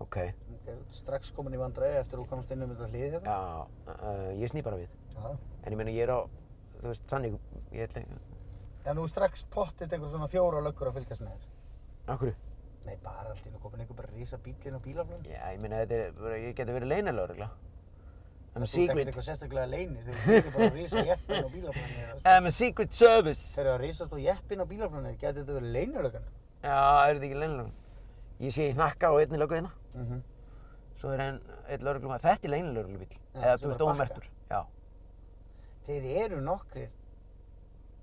Speaker 1: ok,
Speaker 2: Ok, þú ert strax komin í vandræði eftir að þú komst inn um þetta hlið hérna.
Speaker 1: já, uh, ég sný bara við.
Speaker 2: Já.
Speaker 1: En ég minna ég er á, þú veist, þannig, ég ætla,
Speaker 2: En þú er strax pottitt einhver svona fjóra löggur að fylgjast með þér.
Speaker 1: akkur,
Speaker 2: Nei, bara allt inn og komin einhver bara rísa bíl inn á bílaplan.
Speaker 1: já, ég minna þetta er, bara- ég geti verið leynilega regla. I'm a
Speaker 2: Þú ert ekkert
Speaker 1: secret,
Speaker 2: eitthvað sérstaklega leini þegar þú getur bara að rísa jeppin á bílaplani.
Speaker 1: I'm a secret service.
Speaker 2: Þegar að rísast á jeppin á bílaplani, getur þetta verið leinilögan?
Speaker 1: Já, er þetta ekki leynilega? Ég sé í hnakka og einni löggu hérna,
Speaker 2: Mm -hmm.
Speaker 1: svo er einn, einn lögreglum að þetta er leynilega bíl.
Speaker 2: Já,
Speaker 1: Eða,
Speaker 2: sem
Speaker 1: þú veist,
Speaker 2: bara bakka.
Speaker 1: ómertur, já.
Speaker 2: Þeir eru nokkrir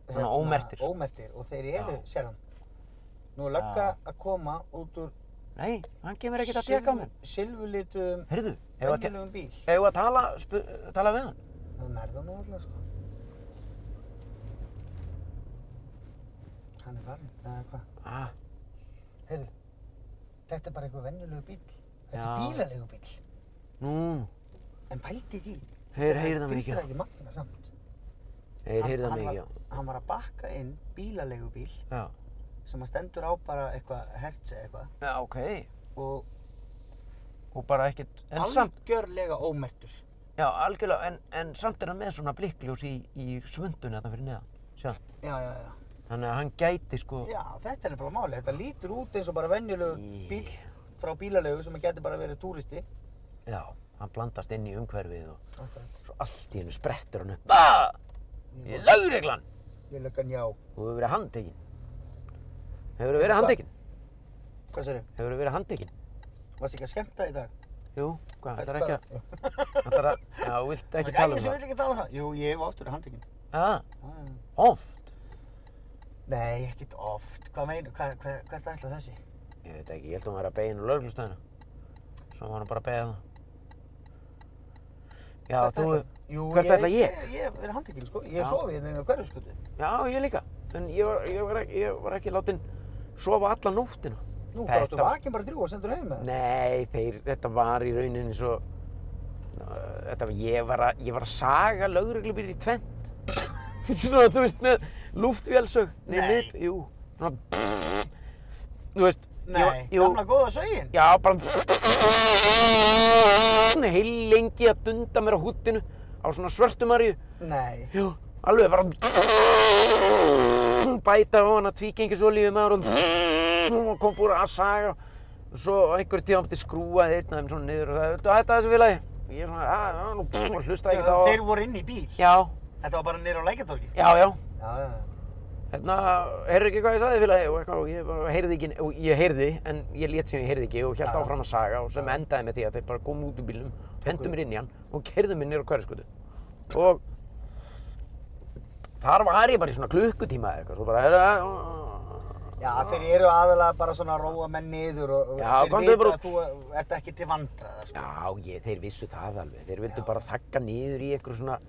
Speaker 1: Svona ómerktir.
Speaker 2: ómertir og þeir eru,
Speaker 1: Já.
Speaker 2: sér hann Nú er lögga að koma út úr
Speaker 1: Nei, hann kemur ekkert að tekka á mig.
Speaker 2: silfurlituðum
Speaker 1: Heyrðu, ef að, te-
Speaker 2: venjulegum bíl
Speaker 1: ef að tala, spu, tala við hann.
Speaker 2: Nú nærðu hann nú alltaf sko Hann er farinn, eða hvað
Speaker 1: Ah,
Speaker 2: Heyrðu, þetta er bara einhver venjulegu bíl Þetta
Speaker 1: Já.
Speaker 2: er bílalegu bíl
Speaker 1: nú,
Speaker 2: En pældi því
Speaker 1: þeir heyrða mig
Speaker 2: Finnst
Speaker 1: ekki.
Speaker 2: þér það ekki magna samt?
Speaker 1: Þeir
Speaker 2: Hann-
Speaker 1: heyrða
Speaker 2: hann
Speaker 1: mig ekki,
Speaker 2: var- Hann var að bakka inn bílalegu bíl
Speaker 1: já.
Speaker 2: sem að stendur á bara eitthvað hertz eða eitthvað
Speaker 1: Já, ok.
Speaker 2: og
Speaker 1: Og bara ekkert, en samt,
Speaker 2: algjörlega ómertur
Speaker 1: já, algjörlega, en, en samt er hann með svona blikkljós í, í svundunni þarna fyrir neðan. Sjá,
Speaker 2: já, já, já.
Speaker 1: þannig að hann gæti sko,
Speaker 2: já, þetta er bara máli þetta lítur út eins og bara venjulegu
Speaker 1: Í.
Speaker 2: bíl frá bílalegu sem getur bara verið túristi
Speaker 1: já, hann blandast inn í umhverfið og
Speaker 2: ég
Speaker 1: svo allt í hennu sprettur hann upp. Ah! Ég er lögreglan!
Speaker 2: löggan já
Speaker 1: Þú hefur verið handtekinn. Hefur verið handtekinn?
Speaker 2: hvað sér
Speaker 1: Hefur verið handtekinn?
Speaker 2: varst ekki að skemmta í dag
Speaker 1: Jú, hvað, ætlar ekki að, ætlar að, já, þú vilt ekki tala um
Speaker 2: ég
Speaker 1: það.
Speaker 2: vil ekki tala um það jú, ég hef oftur handtekinn
Speaker 1: Ah,
Speaker 2: Já, já.
Speaker 1: oft?
Speaker 2: nei, ekkert oft hvað meinu, hvað, hvað, hvert ætla þessi
Speaker 1: Ég veit ekki, ég held að hún var að beigja inn á lauruglustöðina. Svo var hún bara að beigja það. Já,
Speaker 2: Hvert
Speaker 1: þú...
Speaker 2: ætlar- jú,
Speaker 1: hvert ætla ég?
Speaker 2: ég, ég hef verið handtekinn sko ég
Speaker 1: Já.
Speaker 2: hef sofið hérna inn á hverju skutu
Speaker 1: Já, ég líka. En ég var, ég var, ekki, ég var ekki látin sofa alla nóttina.
Speaker 2: nú
Speaker 1: Þetta
Speaker 2: grástu
Speaker 1: var-
Speaker 2: vakin bara þrjú og sendur heim með það.
Speaker 1: Nei, þeir, þetta var í rauninni svo... Ná, Þetta var, ég var að, ég var að saga lauruglubýr í tvent. svona, þú veist, með lúftvélsög. Nei,
Speaker 2: Nei.
Speaker 1: mitt, jú. Svona, þú veist,
Speaker 2: Nei,
Speaker 1: jú, jú,
Speaker 2: gamla góða sögin.
Speaker 1: já, bara heil lengi að dunda mér á húttinu á svona svörtumarju.
Speaker 2: Nei.
Speaker 1: Jú, alveg bara bæta á hana tvíkengisólífið maður og og kom fór að saga og svo á einhverjum tíma átti skrúaði einn af þeim svona niður og sagði, viltu að hætta þessu félagi? Ég er svona, að, að, nú, og hlusta ekkert á
Speaker 2: Þeir voru inn í bíl.
Speaker 1: Já,
Speaker 2: Þetta var bara niður á lækjartorgi.
Speaker 1: já, já,
Speaker 2: Já, já, já.
Speaker 1: hérna, heyrðu ekki hvað ég sagði félagi og eitthvað og ég bara heyrði ekki, og ég heyrði, en ég lét sem ég heyrði ekki og
Speaker 2: Já.
Speaker 1: hélt áfram að saga og sem endaði með því að þeir bara komu út úr bílnum, hendu mér inn í hann og kerðu mér niður á hverjaskutu og þar var ég bara í svona klukkutíma eða eitthvað, svo bara, heyrðu,
Speaker 2: Já, þeir eru aðalega bara svona að róa menn niður og og
Speaker 1: Já,
Speaker 2: þeir
Speaker 1: komdu bara
Speaker 2: að þú ert ekki til vandraða, sko.
Speaker 1: Já, ég, þeir vissu það alveg. Þeir vildu bara þakka niður í einhver svona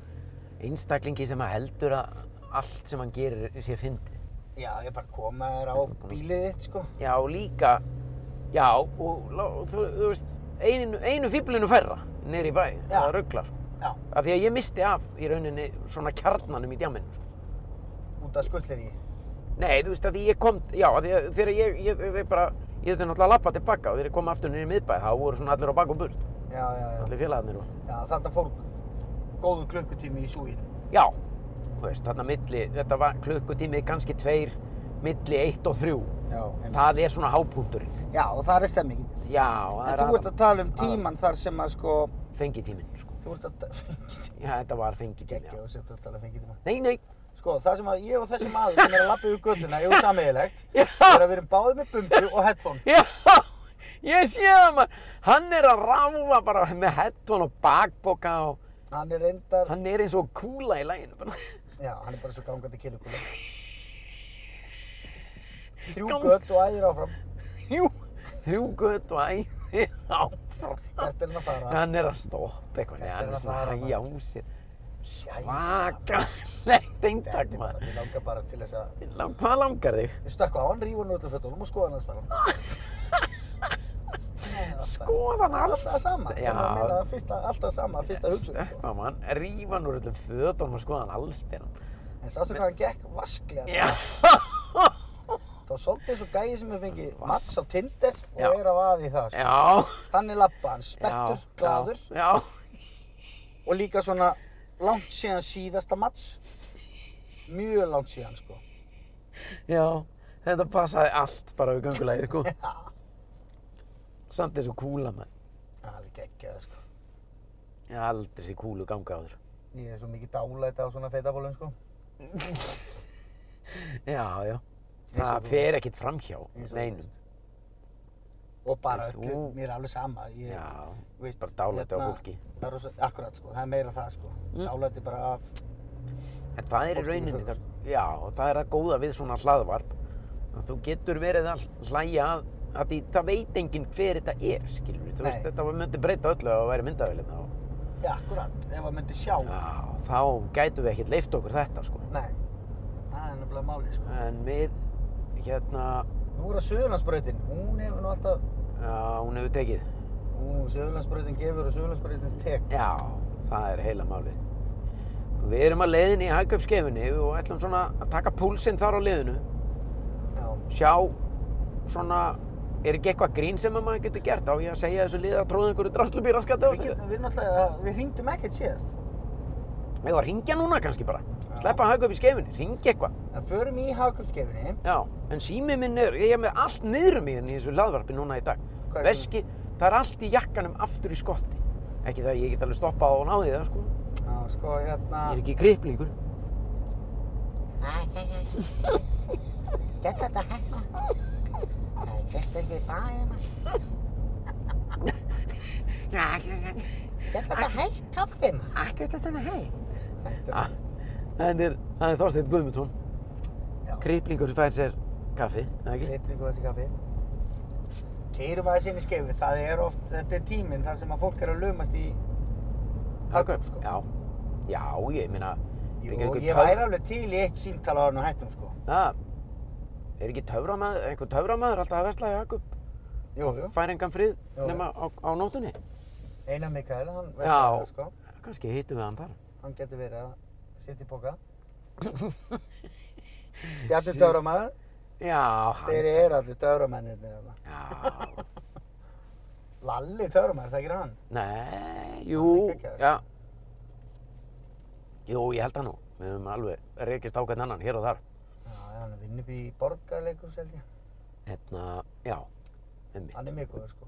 Speaker 1: einstaklingi sem að heldur að allt sem hann gerir sé fyndið.
Speaker 2: Já, ég bara koma þér á bílið þitt, sko.
Speaker 1: Já, líka, já, og lá- þú, þú veist, einu, einu fíblinu færra niður í bæ,
Speaker 2: Já.
Speaker 1: það ruggla, sko.
Speaker 2: Já,
Speaker 1: Af því að ég misti af í rauninni svona kjarnanum í djáminu, sko.
Speaker 2: út af skullir í.
Speaker 1: Nei, þú veist, að því ég kom, já, af því að þegar ég, ég, þeir bara, ég þurfti náttúrulega að lappa tilbaka og þegar ég kom aftur niður í miðbæ, þá voru svona allir á bak og burt,
Speaker 2: Já, já, já.
Speaker 1: allir félagarnir og,
Speaker 2: Já, þarna fór góðu klukkutími í súginu.
Speaker 1: Já, þú veist, þarna milli, þetta var klukkutímið kannski tveir, milli eitt og þrjú.
Speaker 2: Já, en...
Speaker 1: Það er svona hápunkturinn.
Speaker 2: Já, og það er stemmingin.
Speaker 1: Já, það
Speaker 2: En
Speaker 1: er
Speaker 2: þú ert að tala um tíman þar sem að, sko,
Speaker 1: Fengitíminn, sko.
Speaker 2: þú ert að... Fengitíma.
Speaker 1: Já, þetta var fengitíminn,
Speaker 2: Gekkið
Speaker 1: já.
Speaker 2: og setja að tala um fengitíma.
Speaker 1: Nei, nei.
Speaker 2: Sko, það sem að ég og þessi maður sem er að lappa yfir göttuna, ég er sammeðilegt,
Speaker 1: Já.
Speaker 2: er að við erum báðið með bumbu og headphone.
Speaker 1: Já, ég sé það maður. Hann er að ráfa bara með headphone og bakboka og
Speaker 2: Hann er reyndar,
Speaker 1: hann er eins og kúla í læginu. bara.
Speaker 2: já, hann er bara svo gangandi killikúla. Þrjú
Speaker 1: Gang-
Speaker 2: gött og æðir áfram,
Speaker 1: Þrjú, þrjú gött og æði áfram.
Speaker 2: hvert er hann að fara?
Speaker 1: Hann er að stoppa eitthvað. Nei,
Speaker 2: Þetta er
Speaker 1: hann
Speaker 2: hann
Speaker 1: er
Speaker 2: að
Speaker 1: svona
Speaker 2: fara,
Speaker 1: að
Speaker 2: maður.
Speaker 1: hægja á sér.
Speaker 2: Jæsa,
Speaker 1: Svakalegt
Speaker 2: Þetta
Speaker 1: eintak,
Speaker 2: er bara,
Speaker 1: maður.
Speaker 2: mér langar bara til þess að,
Speaker 1: Lá- Hvað langar þig?
Speaker 2: ég stökk á hann, rífa hann úr öllu fötunum og skoða hann hans bara. Nei, alltaf-
Speaker 1: Skoðan allt.
Speaker 2: Alltaf sama, sem
Speaker 1: Já.
Speaker 2: að meina fyrsta, alltaf sama, fyrsta hugsun. sko.
Speaker 1: Stökkva mann, rífa hann úr öllum fötum og skoða hann allsbyrjan.
Speaker 2: En sástu hvað hann gekk vasklega.
Speaker 1: Já,
Speaker 2: Það var svolítið eins og gæi sem hefur fengið
Speaker 1: Vask.
Speaker 2: mats á Tinder og
Speaker 1: Já.
Speaker 2: er að vaði það, sko.
Speaker 1: já,
Speaker 2: Þannig lappa hann,
Speaker 1: já.
Speaker 2: spettur, glaður
Speaker 1: Já, já.
Speaker 2: og líka svona langt síðan síðasta mats. Mjög langt síðan, sko.
Speaker 1: Já, þetta passaði allt bara við göngulegið, sko.
Speaker 2: Já,
Speaker 1: Samt þessu kúla maður.
Speaker 2: það er alveg geggjað, sko.
Speaker 1: Ég hef aldrei sér kúlu ganga á þér.
Speaker 2: Ég er svo mikið dálæti á svona feitabólum, sko.
Speaker 1: Já, já.
Speaker 2: Eins og
Speaker 1: Það
Speaker 2: þú
Speaker 1: fer ekkit framhjá
Speaker 2: Eins og þú
Speaker 1: neinum.
Speaker 2: veist. Og bara
Speaker 1: Þú-
Speaker 2: öllu, mér er alveg sama. Ég,
Speaker 1: Já,
Speaker 2: þú veist,
Speaker 1: bara dálæti á fólki.
Speaker 2: Hérna, Það er rosa, akkurat, sko. Það er meira það, sko.
Speaker 1: Mm.
Speaker 2: Dálæti bara af,
Speaker 1: En það er í
Speaker 2: Fólki í
Speaker 1: rauninni,
Speaker 2: höfuð,
Speaker 1: það, já, og það er að góða við svona hlaðvarp. að Þú getur verið að hlæja að, að því það veit enginn hver þetta er, skilur við. Þú
Speaker 2: Nei.
Speaker 1: veist, þetta myndi breyta öllu að væri myndavélina og
Speaker 2: ja, akkurat, ef að myndi sjá.
Speaker 1: Já, þá gætum við ekkert leift okkur þetta sko.
Speaker 2: Nei, það er nefnilega málið, sko.
Speaker 1: En við, hérna,
Speaker 2: Nú er það Suðurlandsbrautin, hún hefur nú alltaf
Speaker 1: já, hún hefur tekið.
Speaker 2: Ú, Suðurlandsbrautin gefur og Suðurlandsbrautin tek.
Speaker 1: Já, það er heila málið. Við erum að leiðin í hagkaupskefinni og ætlum svona að taka púlsinn þar á leiðinu.
Speaker 2: Já,
Speaker 1: Sjá, svona, er ekki eitthvað grín sem að maður getur gert á ég að segja þessu liða að tróða einhverju draslubýra skatt á
Speaker 2: við,
Speaker 1: þessu?
Speaker 2: getum, við náttúrulega, við hringdum ekkert síðast.
Speaker 1: Við varum að ringja núna kannski bara.
Speaker 2: Já.
Speaker 1: Sleppa hagkaup í skefinni, ringja eitthvað.
Speaker 2: En förum í hagkjöpskefinni.
Speaker 1: Já, en sími minn er, ég er með allt niður um í henni í þessu hlaðvarpi núna í dag.
Speaker 2: Hvað er
Speaker 1: Veski, það er allt í jakkanum aftur í skotti. Ekki það að ég get alveg stoppað og náði það, sko.
Speaker 2: Já, sko, hérna...
Speaker 1: Ég er ekki kriplingur.
Speaker 2: Þetta þetta hérna. Nei, þetta ekki bæði maður. Þetta þetta hægt kaffi maður.
Speaker 1: Akkur þetta er hei.
Speaker 2: Þetta er...
Speaker 1: Það Ah, er, það er Þorsteinn Guðmundsson.
Speaker 2: Já.
Speaker 1: Kriplingur fær sér kaffi, eða ekki?
Speaker 2: Greipningu þessi kaffi. Keirum aðeins inn í skefið. Það er oft, þetta er tíminn þar sem að fólk er að lömast í hagkjöp, sko.
Speaker 1: Já. Já, ég meina, er
Speaker 2: Jú,
Speaker 1: ekki einhver
Speaker 2: ég
Speaker 1: töf-
Speaker 2: væri alveg til í eitt símtala á hann og hættum, sko.
Speaker 1: Það, er ekki töframæður, einhver töframæður alltaf að vesla í Jakob?
Speaker 2: Jú, jú.
Speaker 1: Fær engan frið
Speaker 2: Já, já.
Speaker 1: nema á, á nótunni?
Speaker 2: Einar Mikael, hann
Speaker 1: Já.
Speaker 2: veist það, sko.
Speaker 1: Kannski hittum við hann þar.
Speaker 2: Hann getur verið að sitja í boka. Bjarni Töframann,
Speaker 1: Já,
Speaker 2: þeir
Speaker 1: hann.
Speaker 2: eru allir Töframennirnir þarna.
Speaker 1: Já.
Speaker 2: Lalli Töframann, þekkir hann?
Speaker 1: Nei, jú,
Speaker 2: Hann er geggjaður.
Speaker 1: já. Jú, ég held það nú. Við höfum alveg rekist á hvern annan hér og þar.
Speaker 2: Já, já, hann vinnur upp í borgarleikus held ég.
Speaker 1: Hérna, já, emmi.
Speaker 2: Hann er mjög góður sko.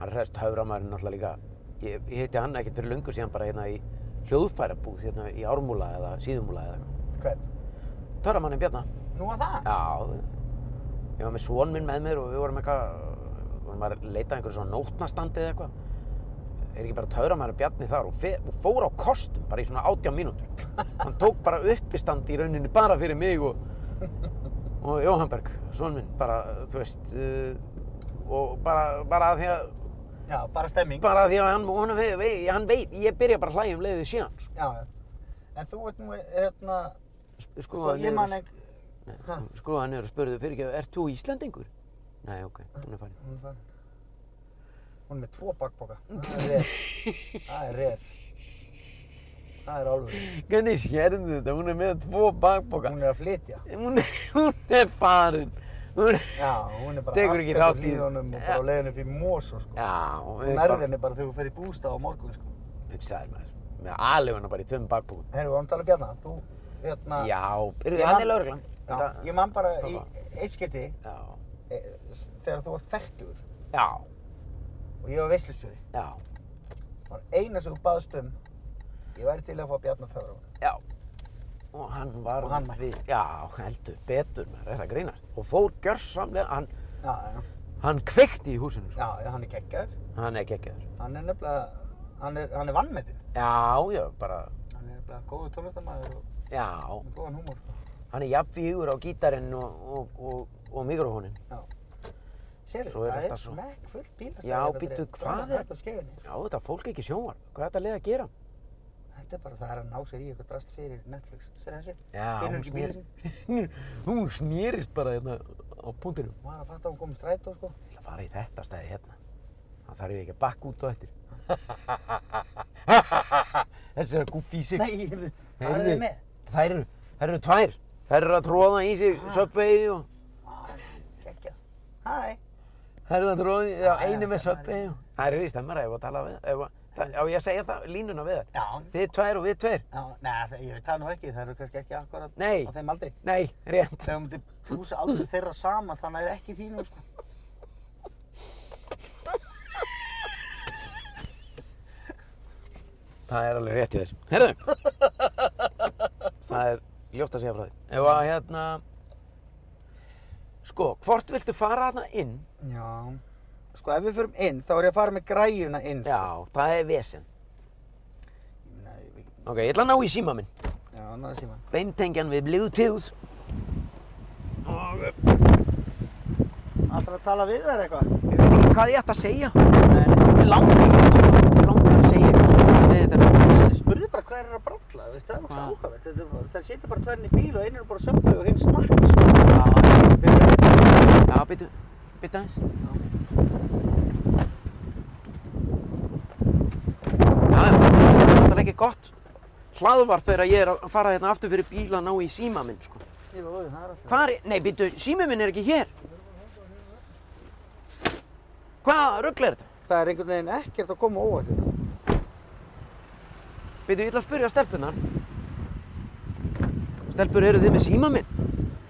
Speaker 1: Hann rest höframæðurinn náttúrulega líka. Ég, ég hitti hann ekkert fyrir lungu síðan bara hérna í hljóðfærabúð, hérna í ármúla eða síðumúla eða eitthvað.
Speaker 2: Hvern?
Speaker 1: Töramannin Bjarna.
Speaker 2: Nú að það?
Speaker 1: Já, ég var með svon minn með mér og við vorum eitthvað, vorum að leita að einhverju svona nótnastandi eða eitthvað. Er ekki bara töframæður Bjarni þar og, fer, og fór á kostum bara í svona 18 mínútur. Hann tók bara uppistand í rauninni bara fyrir mig og, og Jóhannberg, svon minn, bara, þú veist, uh, og bara, bara að því að,
Speaker 2: Já, bara stemming.
Speaker 1: bara að því að hann, hann, veit, hann veit, ég byrja bara að hlæja um leiðið síðan, sko.
Speaker 2: Já, já. En þú ert nú, hérna,
Speaker 1: Sk-
Speaker 2: sko,
Speaker 1: Skrúfaði
Speaker 2: ég man
Speaker 1: niður,
Speaker 2: ekki...
Speaker 1: og-
Speaker 2: Ha?
Speaker 1: nei, sko, skrúfaði niður og spurði fyrir ekki, ert þú Íslendingur? Nei, ok, hún er farin.
Speaker 2: Hún er farin. Hún er með tvo bakboka. Það er ref. Það er ref. Það er alveg.
Speaker 1: Hvernig sérðu þetta? Hún er með tvo bakboka.
Speaker 2: Hún er að flytja.
Speaker 1: Hún er, hún er farin. Hún er...
Speaker 2: Já, hún er bara
Speaker 1: Tekur ekki
Speaker 2: aftur á
Speaker 1: þátt í-
Speaker 2: hlíðunum og bara á leiðin upp í mosu, sko.
Speaker 1: Já, hún
Speaker 2: Þú nærði henni bara þegar þú fer í bústað á morgun, sko.
Speaker 1: Hugsaði maður. Með alveguna bara í tveim bakbókum.
Speaker 2: Herru, við varum að tala um Bjarna. Þú, hérna...
Speaker 1: Já, byrjuðu,
Speaker 2: Ég
Speaker 1: hann
Speaker 2: man-
Speaker 1: er lauruglan.
Speaker 2: Já, ég man bara í
Speaker 1: Toppa.
Speaker 2: eitt skipti
Speaker 1: Já,
Speaker 2: e, s- þegar þú varst færtur
Speaker 1: já,
Speaker 2: og ég var veistlustjóri.
Speaker 1: já,
Speaker 2: Það var eina sem þú baðst um, ég væri til að fá Bjarna Töframann.
Speaker 1: já. Og hann var
Speaker 2: Og hann mætti.
Speaker 1: við, já, heldur, betur maður, þetta grínast. Og fór gjörsamlega, hann,
Speaker 2: Já, já,
Speaker 1: hann kveikti í húsinu, sko.
Speaker 2: já, já, hann er geggar.
Speaker 1: Hann er geggjaður.
Speaker 2: Hann er nefnilega, hann er, hann er vannmetinn.
Speaker 1: Já, já, bara,
Speaker 2: Hann er nefnilega góður tónlistamæður og
Speaker 1: já.
Speaker 2: með góðan húmor. sko.
Speaker 1: Hann er jafnvígur á gítarinn og, og, og, og mikrofónin.
Speaker 2: Sérðu,
Speaker 1: Svo er
Speaker 2: það er
Speaker 1: alltaf svo.
Speaker 2: smekk fullt bílastæði.
Speaker 1: Já,
Speaker 2: hérna fyrir
Speaker 1: bíddu, hvað
Speaker 2: framan
Speaker 1: er-
Speaker 2: Hörpu Skeifunni.
Speaker 1: Já, þetta fólk er ekki sjónvar. Hvað er þetta leið að gera?
Speaker 2: Þetta er bara það er að ná sér í eitthvað drast fyrir Netflix. Sér þessi?
Speaker 1: Já,
Speaker 2: Finnur
Speaker 1: hún,
Speaker 2: ekki bílinn
Speaker 1: snér,
Speaker 2: sinn?
Speaker 1: hún snýrist bara hérna á punktinum.
Speaker 2: Maður að fatta að hún kom í strætó sko.
Speaker 1: Ég ætla að fara í þetta stæði hérna. Það þarf ég ekki að bakka út og eftir. Þessi er að gúffi í sig.
Speaker 2: Nei, heyrðu, hvað er þið með?
Speaker 1: Þær eru, þær eru tvær. Þær eru að tróða í sig Subway og...
Speaker 2: Gekkja. Hæ.
Speaker 1: Þær eru að tróða í... Já,
Speaker 2: Já, já,
Speaker 1: einu með
Speaker 2: stemmar,
Speaker 1: Subway
Speaker 2: já.
Speaker 1: og... Það eru í stemmara ef að tala við... Ef að... það- Á ég að segja það, línuna við þær.
Speaker 2: Já.
Speaker 1: Þið tvær og við tveir.
Speaker 2: Já, nei, það- ég veit það nú ekki, það eru kannski ekki akkurat
Speaker 1: Nei.
Speaker 2: á þeim aldri.
Speaker 1: Nei, rétt.
Speaker 2: Þegar þú myndir plúsa aldur þeirra saman, þannig að það er ekki þínum, sko.
Speaker 1: Það er alveg rétt í þér. Herðu! það er ljótt að segja frá því. Ef að hérna... Sko, hvort viltu fara þarna inn?
Speaker 2: Já. Sko, ef við förum inn, þá er ég að fara með græjuna inn, sko.
Speaker 1: Já, það er vesen.
Speaker 2: Nei, við-
Speaker 1: Ok, ég ætla að ná í síma minn.
Speaker 2: já, náðu síma.
Speaker 1: Beintengjan við Bluetooth. Og eh,
Speaker 2: Alltaf að tala við þær eitthvað?
Speaker 1: ég veit ekki hvað ég ætti að segja.
Speaker 2: Nei,
Speaker 1: Ég langar ekki, sko. Ég langar að segja eitthvað, sko. Það segist þetta.
Speaker 2: nei, spurðu bara hvað er að bralla, veist, það er náttúrulega
Speaker 1: Hvað?
Speaker 2: ákvæmert. Þetta er bara- Þær sitja bara tværinn í bíl og einu er bara söppu og hinn snakka, sko. Þetta er
Speaker 1: Já, býtu, býtu aðeins. Já, já, það er náttúrulega ekki gott hlaðvarp þegar ég er að fara hérna aftur fyrir bíl að ná í síma minn, sko.
Speaker 2: Jú, það er alltaf.
Speaker 1: Hvar er, nei, býtu, sími minn er ekki hér. Hvað rugl er þetta?
Speaker 2: Það er einhvern veginn ekkert að koma á óvart hérna. þetta.
Speaker 1: Býtu, ég ætla að spyrja stelpunar. Stelpur, eru þið með síma minn?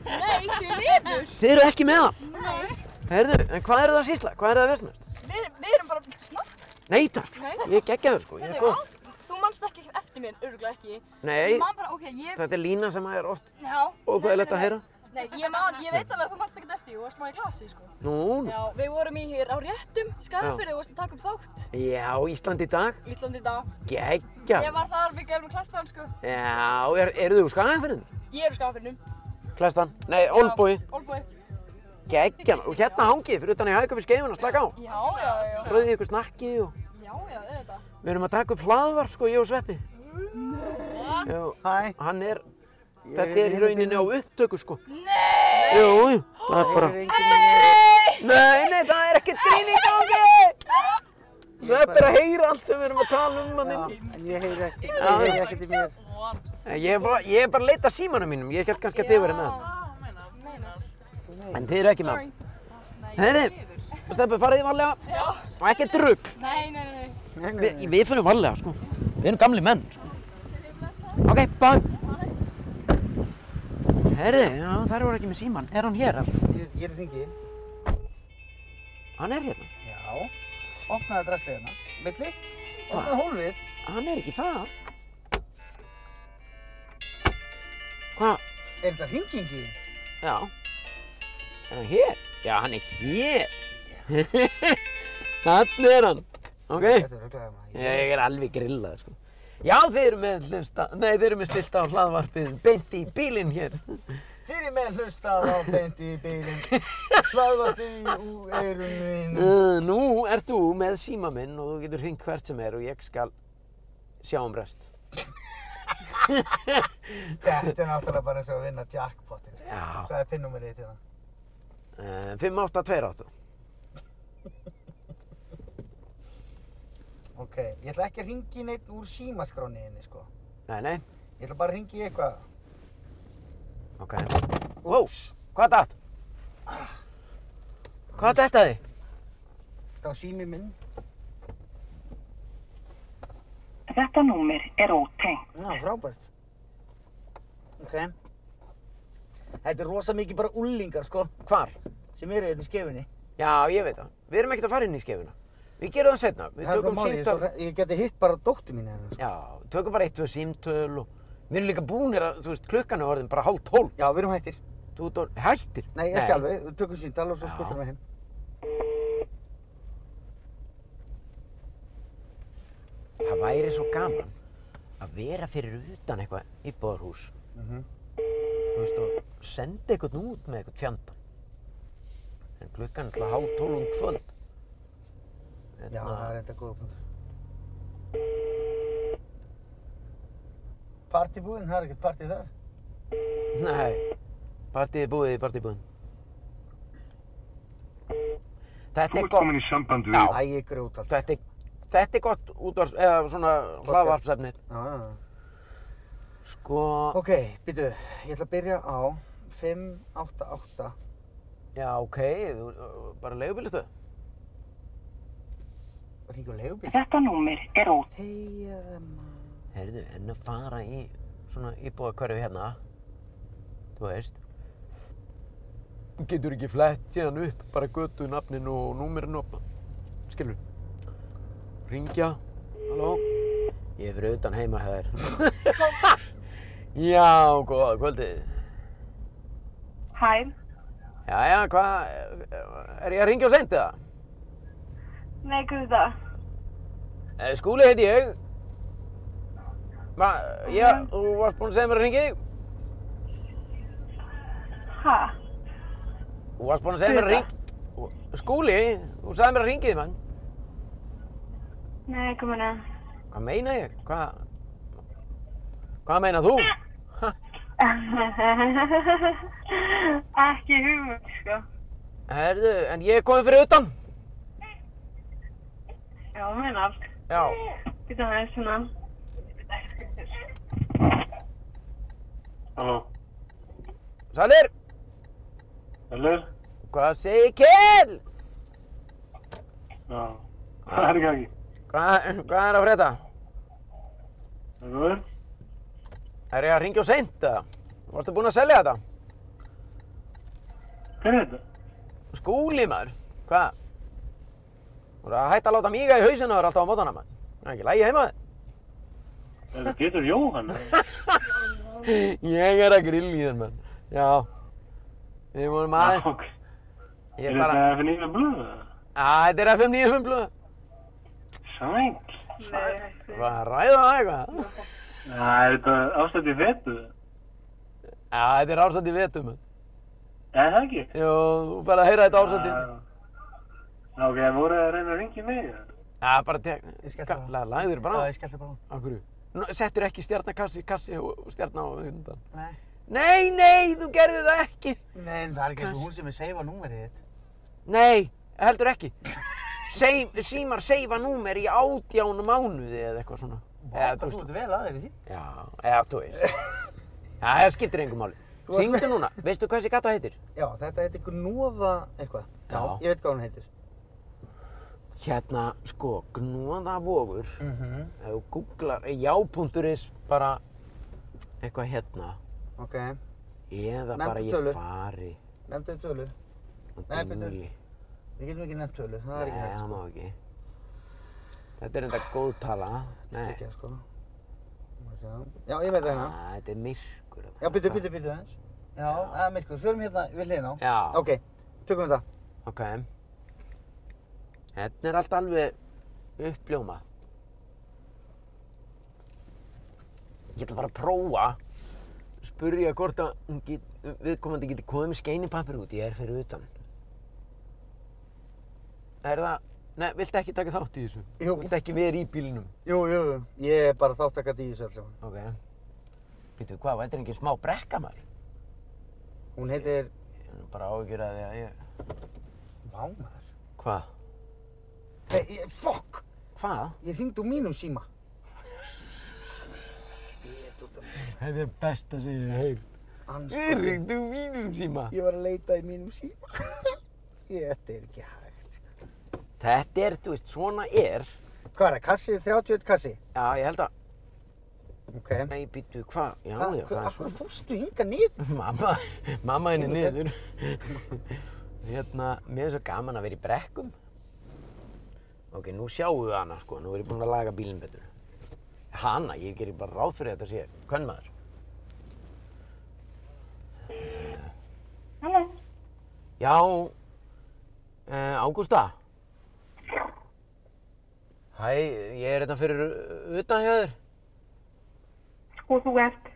Speaker 3: Nei, þið miður.
Speaker 1: Þið eru ekki með hann.
Speaker 3: Nei,
Speaker 1: Heyrðu, en hvað eru það að sýsla? Hvað eru það að vesnast?
Speaker 6: Við, við erum bara snakk.
Speaker 1: Nei, takk.
Speaker 6: Nei.
Speaker 1: Ég geggja þau, sko. Ég er
Speaker 6: Heyrðu,
Speaker 1: góð.
Speaker 6: á, Þú manst ekki eftir mér, örgulega ekki.
Speaker 1: Nei,
Speaker 6: Ég man bara, ok, ég...
Speaker 1: þetta er lína sem er oft
Speaker 6: Já.
Speaker 1: óþægilegt að
Speaker 6: Nei, nei,
Speaker 1: heyra.
Speaker 6: Nei, ég man, ég veit alveg að þú manst ekki eftir, þú varst maður í glasi, sko.
Speaker 1: Nú,
Speaker 6: Já, við vorum í hér á réttum, skæðanfyrði, þú varst að taka upp þátt.
Speaker 1: já, Ísland í dag,
Speaker 6: Ísland í dag.
Speaker 1: geggja.
Speaker 6: Ég var þar, við gælum í klastan, sko.
Speaker 1: Já, er, eru þið úr skagafyrðin?
Speaker 6: Ég er úr skæðanfyrðinum.
Speaker 1: Klæstan, nei, Olbúi,
Speaker 6: Olbúi.
Speaker 1: geggja. Og hérna hangið fyrir utan í hægum við skeifuna, slaka á.
Speaker 6: Já, já, já.
Speaker 1: Rauðið ykkur snakki og
Speaker 6: Já, já, auðvitað.
Speaker 1: við erum að taka upp hlaðvarp, sko, ég og Sveppi. Já,
Speaker 2: Hæ.
Speaker 1: hann er,
Speaker 2: Ég
Speaker 1: þetta er í
Speaker 2: hinum
Speaker 1: rauninni á upptöku, sko.
Speaker 6: Nei!
Speaker 1: Jú, jú, það er bara, nei, nei, það er ekkert grín í gangi. Sveppi er að heyra allt sem við erum að tala um hann
Speaker 2: Já,
Speaker 1: inni.
Speaker 2: en ég heyri ekkert,
Speaker 1: Já.
Speaker 2: ég heyri ekkert í mér.
Speaker 6: What?
Speaker 1: Ég er bara, ég er bara að leita að símanum mínum, ég held kannski að þið verið með hann.
Speaker 5: Já, meinar, meinar.
Speaker 1: En þið eru ekki með hann. Herri, stefnum, farið þið varlega. Já. Og ekkert rugg.
Speaker 6: Nei, nei, nei.
Speaker 1: Vi, við finnum varlega, sko. Við erum gamli menn, sko. Ok, bye. Herri, já, þær voru ekki með síman. Er hann hér? eða?
Speaker 2: Ég, ég er þingi.
Speaker 1: Hann er hérna.
Speaker 2: Já. Opnaði drastlegina. Milli. Opnaði hólfið.
Speaker 1: Hann er ekki þar. Hvað?
Speaker 2: Er þetta hringingi?
Speaker 1: Já. Er hann hér? Já, hann er hér. Þannig er hann. Ok.
Speaker 2: Þetta er auðvitað maður.
Speaker 1: Ég er alveg grillað, sko. Já, þeir eru með hlusta, nei, þeir eru með stilt á hlaðvarpið beint í bílinn hér.
Speaker 2: Þeir eru með hlustað á beint í bílinn. Hlaðvarpi úr eirum minn.
Speaker 1: Uh, nú ert þú með síma minn og þú getur hringt hvert sem er og ég skal sjá um rest.
Speaker 2: Þetta er náttúrulega bara eins og að vinna jackpotin. sko.
Speaker 1: Já.
Speaker 2: Hvað er pinnúmerið hérna. til það?
Speaker 1: Uh, 5828.
Speaker 2: Ok, ég ætla ekki að ringi neitt úr símaskrániðinni sko.
Speaker 1: Nei, nei,
Speaker 2: Ég ætla bara að ringi í eitthvað.
Speaker 1: ok. Wow, hvað datt? Hvað dattaði?
Speaker 2: Þetta var sími minn.
Speaker 7: Þetta númer er ótengt.
Speaker 2: Já, frábært. Ok. Þetta er rosa mikið bara ullingar, sko,
Speaker 1: Hvar?
Speaker 2: sem eru hérna í skefinni.
Speaker 1: Já, ég veit það. Við erum ekkert að fara inn í skefuna. Við gerum það setna. Við
Speaker 2: Það er bara
Speaker 1: tökum
Speaker 2: málið, ég,
Speaker 1: símtöl.
Speaker 2: svo- ég geti hitt bara dóttu mín hérna, sko.
Speaker 1: Já, tökum bara eitt, tvö símtöl og... Við erum líka búnir að, þú veist, klukkan er orðin bara hálf tólf.
Speaker 2: Já, við erum hættir.
Speaker 1: Þú ert orðin, hættir.
Speaker 2: Nei, ekki alveg. Við tökum síntal og svo
Speaker 1: Já.
Speaker 2: skullum við heim.
Speaker 1: Það væri svo gaman að vera fyrir utan eitthvað íbúðarhús.
Speaker 2: Mhm.
Speaker 1: Þú veist, og senda eitthvað út með eitthvað fjandan. En klukkan er alltaf hálf tólf um kvöld. Hérna,
Speaker 2: Já, það er enda góða punktur. Partybúinn, það er ekkert partý þar.
Speaker 1: Nei, partíið er búið í partíbúðin. Þetta er
Speaker 8: Þú ert
Speaker 1: gott.
Speaker 8: komin í samband við
Speaker 1: Já.
Speaker 2: Æ, grjót allt.
Speaker 1: þetta er, þetta er gott útvarf, eða svona hlaðvarpsefni.
Speaker 2: Já, já, já.
Speaker 1: Sko,
Speaker 2: Ok, býtu, ég ætla að byrja á 588.
Speaker 1: já, ok, þú, bara leigubilistöð.
Speaker 2: Ringi og leigubíl. uh,
Speaker 7: Þetta númer er ótengt.
Speaker 2: Heiða maður.
Speaker 1: Heyrðu, en að fara í svona íbúðakverfi hérna, þú veist, getur ekki flett hérna upp, bara götu nafninu og númerinu og, skilur, ringja, halló, ég er fyrir utan heima hér. já, góða kvöldið.
Speaker 7: Hæ,
Speaker 1: Jæja, hvað, er ég að ringja og seint eða?
Speaker 7: nei guða.
Speaker 1: Eh, Skúli heiti ég. Ma, já, þú varst búinn að segja mér að ringi.
Speaker 7: Hæ,
Speaker 1: Þú varst búinn að segja mér að
Speaker 7: Guða.
Speaker 1: ringi. Skúli, þú sagði mér að ringi þig, mann.
Speaker 7: nei komina.
Speaker 1: Hvað meina ég? Hvað, hvað meina þú?
Speaker 7: Ekki hugmynd, sko.
Speaker 1: Herðu, en ég er komið fyrir utan.
Speaker 7: Já, meina allt.
Speaker 1: Já,
Speaker 7: Býta með svona.
Speaker 8: Halló,
Speaker 1: sælir,
Speaker 8: Eller?
Speaker 1: hvað segir Kjell?
Speaker 8: Já. Hvað er í gangi?
Speaker 1: Hvað, hvað er að frétta?
Speaker 8: Er þú verið?
Speaker 1: Er ég að ringja og seint eða? Varstu búinn að selja þetta?
Speaker 8: Hver er þetta?
Speaker 1: Skúli, maður, hvað? Þú voru að hætta að láta míga í hausinu þar alltaf á mótana, maður. Það er ekki lægi heima þér.
Speaker 8: Er þetta Pétur Jóhann?
Speaker 1: Ég er að grill í þér, menn. Já. Við vorum aðeins.
Speaker 8: Ok.
Speaker 1: Ég
Speaker 8: Er
Speaker 1: er bara...
Speaker 8: þetta FN Íra Blöð?
Speaker 1: Æ, þetta er FM 95 blöð.
Speaker 8: Sæk.
Speaker 1: Var að ræða það eitthvað?
Speaker 8: Já, er þetta ástætt í vetu?
Speaker 1: Já, þetta er ásandi vetum, menn.
Speaker 8: Er það ekki?
Speaker 1: Jú, þú fær að heyra þetta ásandi.
Speaker 8: Já, ok, voru það að reyna að ringi mig? eða?
Speaker 1: Já, bara tek...
Speaker 2: Ég skellti bara á.
Speaker 1: Galla, lagður bara á.
Speaker 2: Já, ég skellti bara á.
Speaker 1: Af hverju? Nú, Settur ekki stjarnakassi, kassi og stjarn á undan.
Speaker 2: Nei.
Speaker 1: Nei, nei, þú gerði það ekki.
Speaker 2: Nei, en það er ekki eins og hún sem er seifa númerið þitt.
Speaker 1: Nei, heldur ekki. Seif, símar seifa númer í átján mánuði eða eitthvað svona. Eða,
Speaker 2: Þú ert vel að þér í því.
Speaker 1: Já, eða þú veist. Já, það skiptir engum máli.
Speaker 2: Þú ert-
Speaker 1: Hringdu núna, veistu hvað þessi gata heitir?
Speaker 2: Já, þetta heitir Gnóða eitthvað. Já.
Speaker 1: Já.
Speaker 2: Ég veit hvað hún heitir.
Speaker 1: Hérna, sko, Gnúðavogur,
Speaker 2: Mhm.
Speaker 1: ef þú googlar, eh, já.is bara eitthvað hérna,
Speaker 2: Ok,
Speaker 1: eða
Speaker 2: Nefndu
Speaker 1: bara ég
Speaker 2: tölu.
Speaker 1: fari
Speaker 2: nefndu tölu.
Speaker 1: og
Speaker 2: Nei, bíddu.
Speaker 1: dingli.
Speaker 2: Við getum ekki nefnt tölu, það
Speaker 1: Nei,
Speaker 2: er ekki sko. hægt.
Speaker 1: það má ekki. Þetta er enda góð tala. Nei,
Speaker 2: Ekki, sko. Má sjá. Já, ég veit það
Speaker 1: Æ,
Speaker 2: hérna.
Speaker 1: þetta er myrkur. þarna.
Speaker 2: Já, byttu, byttu, byttu aðeins. Já, það er myrkur. Förum hérna við hliðin á.
Speaker 1: Já,
Speaker 2: Ok, tökum þetta.
Speaker 1: ok. Þetta er allt alveg uppljóma. Ég ætla bara að prófa spurja hvort að hún get, viðkomandi geti komið með skeinipapir út, ég er fyrir utan. Er það, nei, viltu ekki taka þátt í þessu?
Speaker 2: Jú.
Speaker 1: Viltu ekki vera í bílnum?
Speaker 2: Jú, jú, jú. Ég er bara þáttakandi í þessu alls. saman.
Speaker 1: Ok. Býtu, hvað, þetta er engin smá brekka maður?
Speaker 2: Hún heitir...
Speaker 1: Ég er nú bara ágjur að því að ég...
Speaker 2: Vámar.
Speaker 1: Hvað?
Speaker 2: Nei, ég, fokk!
Speaker 1: Hvað?
Speaker 2: Ég hringd úr mínum síma. Ég er út af...
Speaker 1: Þetta er best að segja þér heyr. Ég
Speaker 2: Anskotin.
Speaker 1: ringdu mínum síma.
Speaker 2: Ég var að leita í mínum síma. ég, þetta er ekki hægt. sko.
Speaker 1: Þetta er, þú veist, svona er.
Speaker 2: Hvað er það? Kassi? 31 kassi?
Speaker 1: Já, ég held að...
Speaker 2: Ok.
Speaker 1: Nei, býtu, hvað? Já, já, það
Speaker 2: Akkur,
Speaker 1: er
Speaker 2: akkur
Speaker 1: svona.
Speaker 2: fórstu hinga niður?
Speaker 1: Mamma, mamma henni niður. hérna, mér er svo gaman að vera í brekkum. Ok, nú sjáum við hana, sko. Nú er ég búinn að laga bílinn betur. Hanna, ég gerir bara ráð fyrir að þetta sé. Hvern maður?
Speaker 7: Halló.
Speaker 1: Já, eh, Ágústa? Hæ, ég er hérna fyrir uh, utan hjá þér.
Speaker 7: Og þú ert?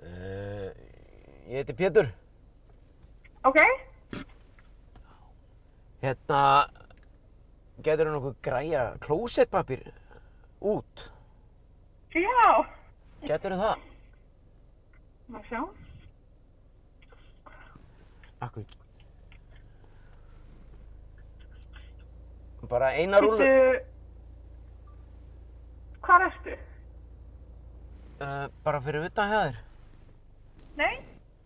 Speaker 1: Uh, ég heiti Pétur.
Speaker 7: Ok.
Speaker 1: Hérna, getur þú nokkuð græja klósettpapir út?
Speaker 7: Já.
Speaker 1: Getur þú það?
Speaker 7: Má sjá.
Speaker 1: Akkur. Bara eina rúlu.
Speaker 7: Bíddu, Hvar ertu?
Speaker 1: Uh, bara fyrir utan hjá þér.
Speaker 7: Nei?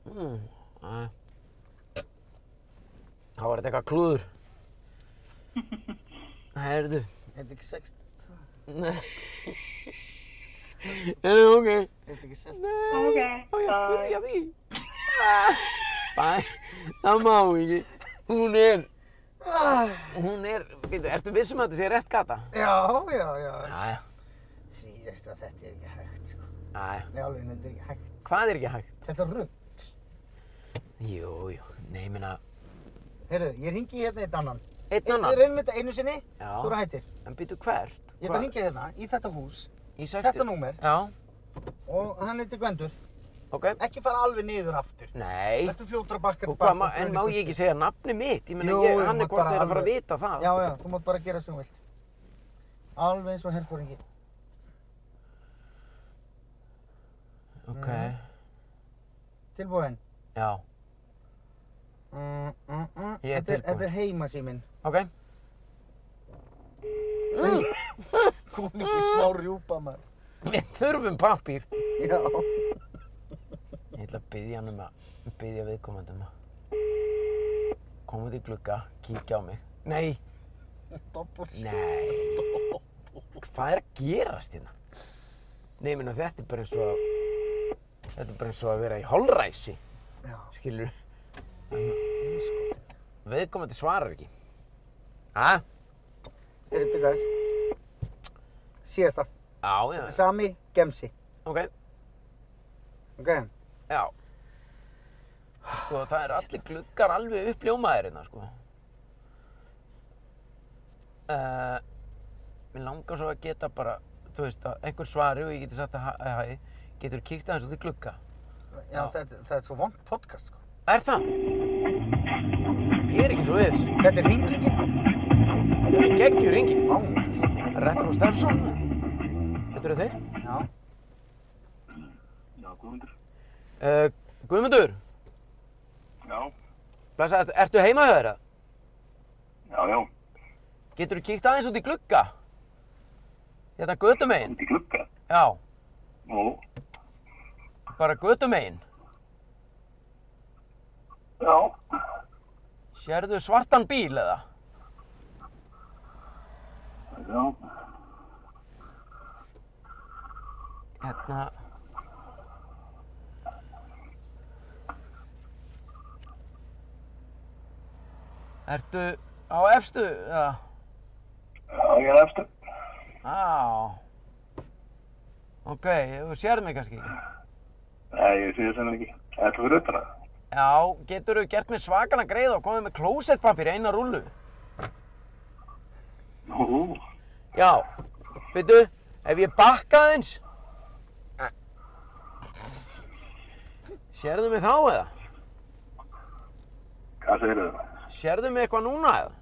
Speaker 1: Mm, uh. Þá var þetta eitthvað klúður. Herðu.
Speaker 2: Er þetta ekki 60?
Speaker 1: Nei. Er það ok?
Speaker 2: Er þetta ekki 60?
Speaker 7: Ok.
Speaker 1: Á ég að spyrja því? Bæ, það má ekki. Hún er,
Speaker 2: Ah.
Speaker 1: hún er, býttu, ertu vissum að þetta sé rétt gata?
Speaker 2: Já, já, já.
Speaker 1: Jæja,
Speaker 2: Því veist að þetta er ekki hægt, sko.
Speaker 1: jæja.
Speaker 2: Nei, alveg, þetta er ekki hægt.
Speaker 1: Hvað er ekki hægt?
Speaker 2: Þetta er rugg.
Speaker 1: Jú, jú, nei, ég meina,
Speaker 2: Heyrðu, ég ringi hérna eitt annan.
Speaker 1: einn
Speaker 2: Við
Speaker 1: annan.
Speaker 2: reynum þetta einu sinni,
Speaker 1: Já.
Speaker 2: þú eru hættir.
Speaker 1: En býttu hvert?
Speaker 2: Ég ætla að ringja hérna í þetta hús
Speaker 1: Í 60.
Speaker 2: þetta númer.
Speaker 1: Já,
Speaker 2: og hann heitir Gvendur.
Speaker 1: ok.
Speaker 2: Ekki fara alveg niður aftur.
Speaker 1: Nei,
Speaker 2: Þetta er fljótra bakkar.
Speaker 1: og hvað, ma- en má ég ekki segja nafni mitt? Ég meina,
Speaker 2: Jú,
Speaker 1: ég,
Speaker 2: jú,
Speaker 1: hann
Speaker 2: mátt
Speaker 1: er hvort
Speaker 2: bara
Speaker 1: þeir að fara að
Speaker 2: alveg.
Speaker 1: vita það.
Speaker 2: Já, já, þú mátt bara gera sem þú vilt. Alveg eins og herfóringi.
Speaker 1: Ok,
Speaker 2: Mm-hmm. Tilbúin.
Speaker 1: já,
Speaker 2: Mm, mm, mm.
Speaker 1: Ég er
Speaker 2: Þetta
Speaker 1: tilbúinn.
Speaker 2: Þetta er heimasíminn.
Speaker 1: ok.
Speaker 2: Kom ekki smá rjúpa maður.
Speaker 1: Við þurfum pappír.
Speaker 2: Já.
Speaker 1: Ég ætla að byggja hann um að byggja viðkomandi um að koma út í glugga, kíkja á mig. Nei,
Speaker 2: Doppur.
Speaker 1: nei. Hvað er að gerast hérna? Nei, minna, þetta er bara eins og að, þetta er bara eins og að vera í holræsi,
Speaker 2: Já.
Speaker 1: skilur. Viðkomandi svarar ekki. Hæ?
Speaker 2: Þeir eru byrjaðis. Síðasta.
Speaker 1: Já, já,
Speaker 2: Sami Gemsi.
Speaker 1: ok,
Speaker 2: Ok?
Speaker 1: já. Sko, það er allir gluggar alveg uppljómaðir hérna, sko. uh, mér langar svo að geta bara, þú veist, að einhver svari og ég geti sagt að hæ, hæ, getur kíkt aðeins út í glugga.
Speaker 2: Já, þetta, þetta er svo vond podcast sko.
Speaker 1: Er það? Ég er ekki svo viss.
Speaker 2: Þetta er hringingin.
Speaker 1: Ég er geggjur ringi.
Speaker 2: Vá.
Speaker 1: Rettur og Stefson. Þetta eru þeir.
Speaker 2: Já.
Speaker 8: Já, Guðmundur.
Speaker 1: Uh, Guðmundur,
Speaker 8: Já,
Speaker 1: blessa, ert, ertu heima hjá þeirra?
Speaker 8: já, já.
Speaker 1: Getur kíkt aðeins út í glugga? Þetta Hérna götumegin?
Speaker 8: Út í glugga.
Speaker 1: Já,
Speaker 8: Nú.
Speaker 1: bara götumegin.
Speaker 8: Já.
Speaker 1: Sérðu svartan bíl eða?
Speaker 8: Já.
Speaker 1: Hérna, ertu á efstu eða?
Speaker 8: Já, ég er eftir.
Speaker 1: Já. Ok, þú sérðu mig kannski?
Speaker 8: Nei, ég sé þess að ekki. Þetta fyrir utan það.
Speaker 1: Já, geturðu gert mér svakana greið og komið með klósettpappir í eina rúllu?
Speaker 8: Nú.
Speaker 1: Já, veitu, ef ég bakka aðeins Sérðu mig þá eða?
Speaker 8: Hvað segir þau?
Speaker 1: Sérðu mig eitthvað núna eða?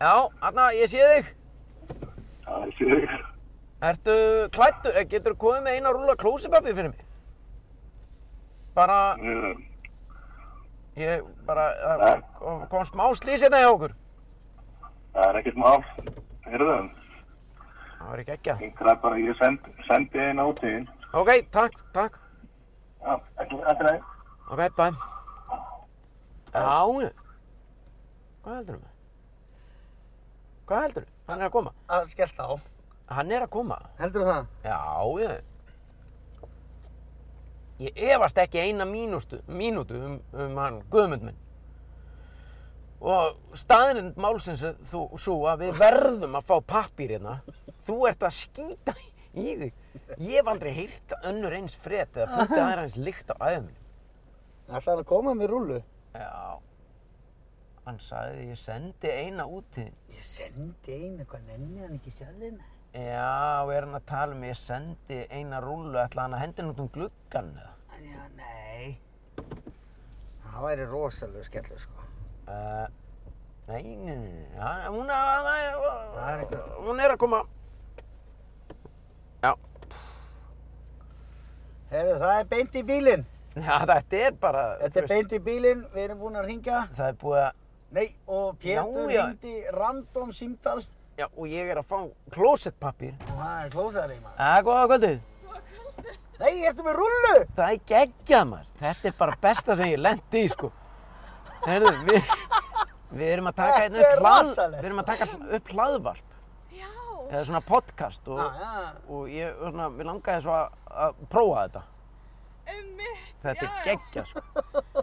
Speaker 1: Já, Anna, ég sé þig.
Speaker 8: Já, ég sé þau.
Speaker 1: Ertu klættur? Getur þú komið með eina rúla klósipappi fyrir mig? Bara, ég, bara, það kom- kom smá slís hérna hjá okkur.
Speaker 8: Það er ekkert mál. Heyrðu þau.
Speaker 1: Það var ekki ekki að.
Speaker 8: Ég kraf bara, ég send, sendi einn átíðin.
Speaker 1: Ok, takk, takk.
Speaker 8: Já, ekki, ekki næ.
Speaker 1: Ok, bæ. Já, ég. Hvað heldur þú? Hvað heldur þú? Hann er að koma.
Speaker 2: að skellt á.
Speaker 1: Hann er að koma.
Speaker 2: Heldur það?
Speaker 1: Já, ég. Ég efast ekki eina mínustu, mínútu um, um hann guðmund minn. Og staðirind málsins er þú, svo að við verðum að fá pappir hérna. Þú ert að skýta í þig. Ég hef aldrei heyrt önnur eins frétt eða fundið aðra eins lykt á æðum minn.
Speaker 2: Ætlar hann að koma með rúlu?
Speaker 1: Já, hann sagði ég sendi eina úti.
Speaker 2: Ég sendi einu, hvað nenni hann ekki sjálfið með?
Speaker 1: Já, er hann að tala um ég sendi eina rúllu, ætla hann að hendi henni út um gluggan eða?
Speaker 2: Já, nei. Það væri rosalega skellur sko.
Speaker 1: Uh, nei, nei, nei, nei, hann- hún, að, að,
Speaker 2: Það er
Speaker 1: að,
Speaker 2: einhver-
Speaker 1: hún er að koma.
Speaker 2: Herru, það er beint í bílinn.
Speaker 1: Já, þetta er bara,
Speaker 2: Þetta er beint í bílinn, við erum búin að ringja.
Speaker 1: það er búið að,
Speaker 2: Nei, og Pétur
Speaker 1: Já, já.
Speaker 2: ringdi random símtal.
Speaker 1: já, og ég er að fá klósettpappir.
Speaker 2: Og það er klósaður í maður.
Speaker 1: Það er góða kvöldið.
Speaker 2: Nei, ertu með rúlu?
Speaker 1: Það er geggjað maður. Þetta er bara besta sem ég lendi í sko. Heyrðu, við, við erum að taka hérna
Speaker 2: Þetta er
Speaker 1: upp, hlað,
Speaker 2: rosalegt, sko.
Speaker 1: við erum að taka upp hlaðvarp
Speaker 6: Já,
Speaker 1: eða svona podcast og,
Speaker 2: Já, já.
Speaker 1: og ég, svona, mér langaði svo að, að prófa þetta.
Speaker 3: Einmitt.
Speaker 1: Þetta er
Speaker 3: Já, já.
Speaker 1: geggjað sko.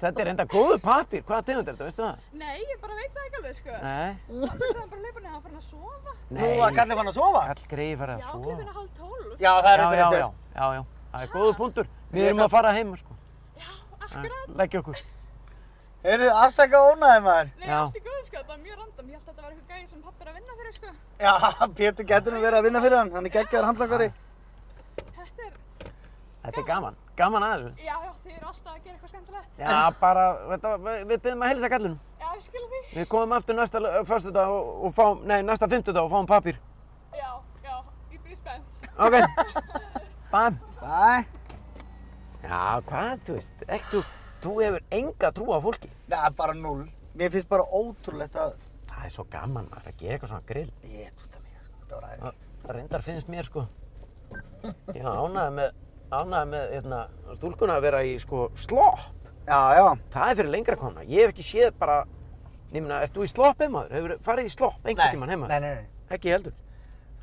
Speaker 1: Þetta er enda góðu pappir. Hvaða tegund er þetta, veistu það?
Speaker 3: Nei, ég bara veit það ekki alveg, sko.
Speaker 1: Nei.
Speaker 3: Það er bara leipur neðan að fara að sofa.
Speaker 2: Nú var kallið fann að sofa?
Speaker 1: Kall greiði fara
Speaker 3: Já,
Speaker 1: að sofa.
Speaker 3: klukkan er hálf tólf.
Speaker 2: Já, það er
Speaker 1: Já, já,
Speaker 2: eitthvað
Speaker 1: já,
Speaker 2: eftir.
Speaker 1: já, já. Það er góðu punktur. Við
Speaker 2: Ég
Speaker 1: erum
Speaker 2: sá-
Speaker 1: að fara heim sko.
Speaker 3: Akkurat.
Speaker 1: Leggja okkur.
Speaker 2: Heyrðu, afsaka ónaði maður.
Speaker 3: Nei,
Speaker 1: Já.
Speaker 3: allt í góð, sko. Það var mjög random. Ég held að þetta var eitthvað gæði sem pappi er að vinna fyrir, sko.
Speaker 2: Já, Pétur getur nú verið að vinna fyrir hann. Hann er geggjaður handlangari.
Speaker 3: Þetta er,
Speaker 1: Þetta er gaman. Gaman aðeins.
Speaker 3: já, já, þið eru alltaf að gera eitthvað skemmtilegt.
Speaker 1: Já, bara, þetta, var- við byrjum að helsa kallunum.
Speaker 3: Já, ég skil því.
Speaker 1: Við komum aftur næsta fyrstudag og, og fáum, nei, næsta fymtudag og fáum papír.
Speaker 3: Já, já, ég byrði spennt.
Speaker 1: Ok. Bæm.
Speaker 2: Bæ.
Speaker 1: Já, hvað, þú veist, ekki, þú, þú hefur enga trú á fólki.
Speaker 2: Nei, bara null. Mér finnst bara ótrúlegt að...
Speaker 1: Það er svo gaman maður að gera eitthvað svona grill.
Speaker 2: Ég er út af mig, sko. Þetta var aðeins.
Speaker 1: Það það reyndar finnst mér, sko. Ég ánaði með, ánaði með, hérna, stúlkuna að vera í, sko, slopp.
Speaker 2: Já, já.
Speaker 1: Það er fyrir lengra komna. Ég hef ekki séð bara, nýmina, ert þú í slopp heimaður? Hefur farið í slopp einhvern tímann
Speaker 2: nei,
Speaker 1: heimaður?
Speaker 2: nei, nei.
Speaker 1: Ekki heldur.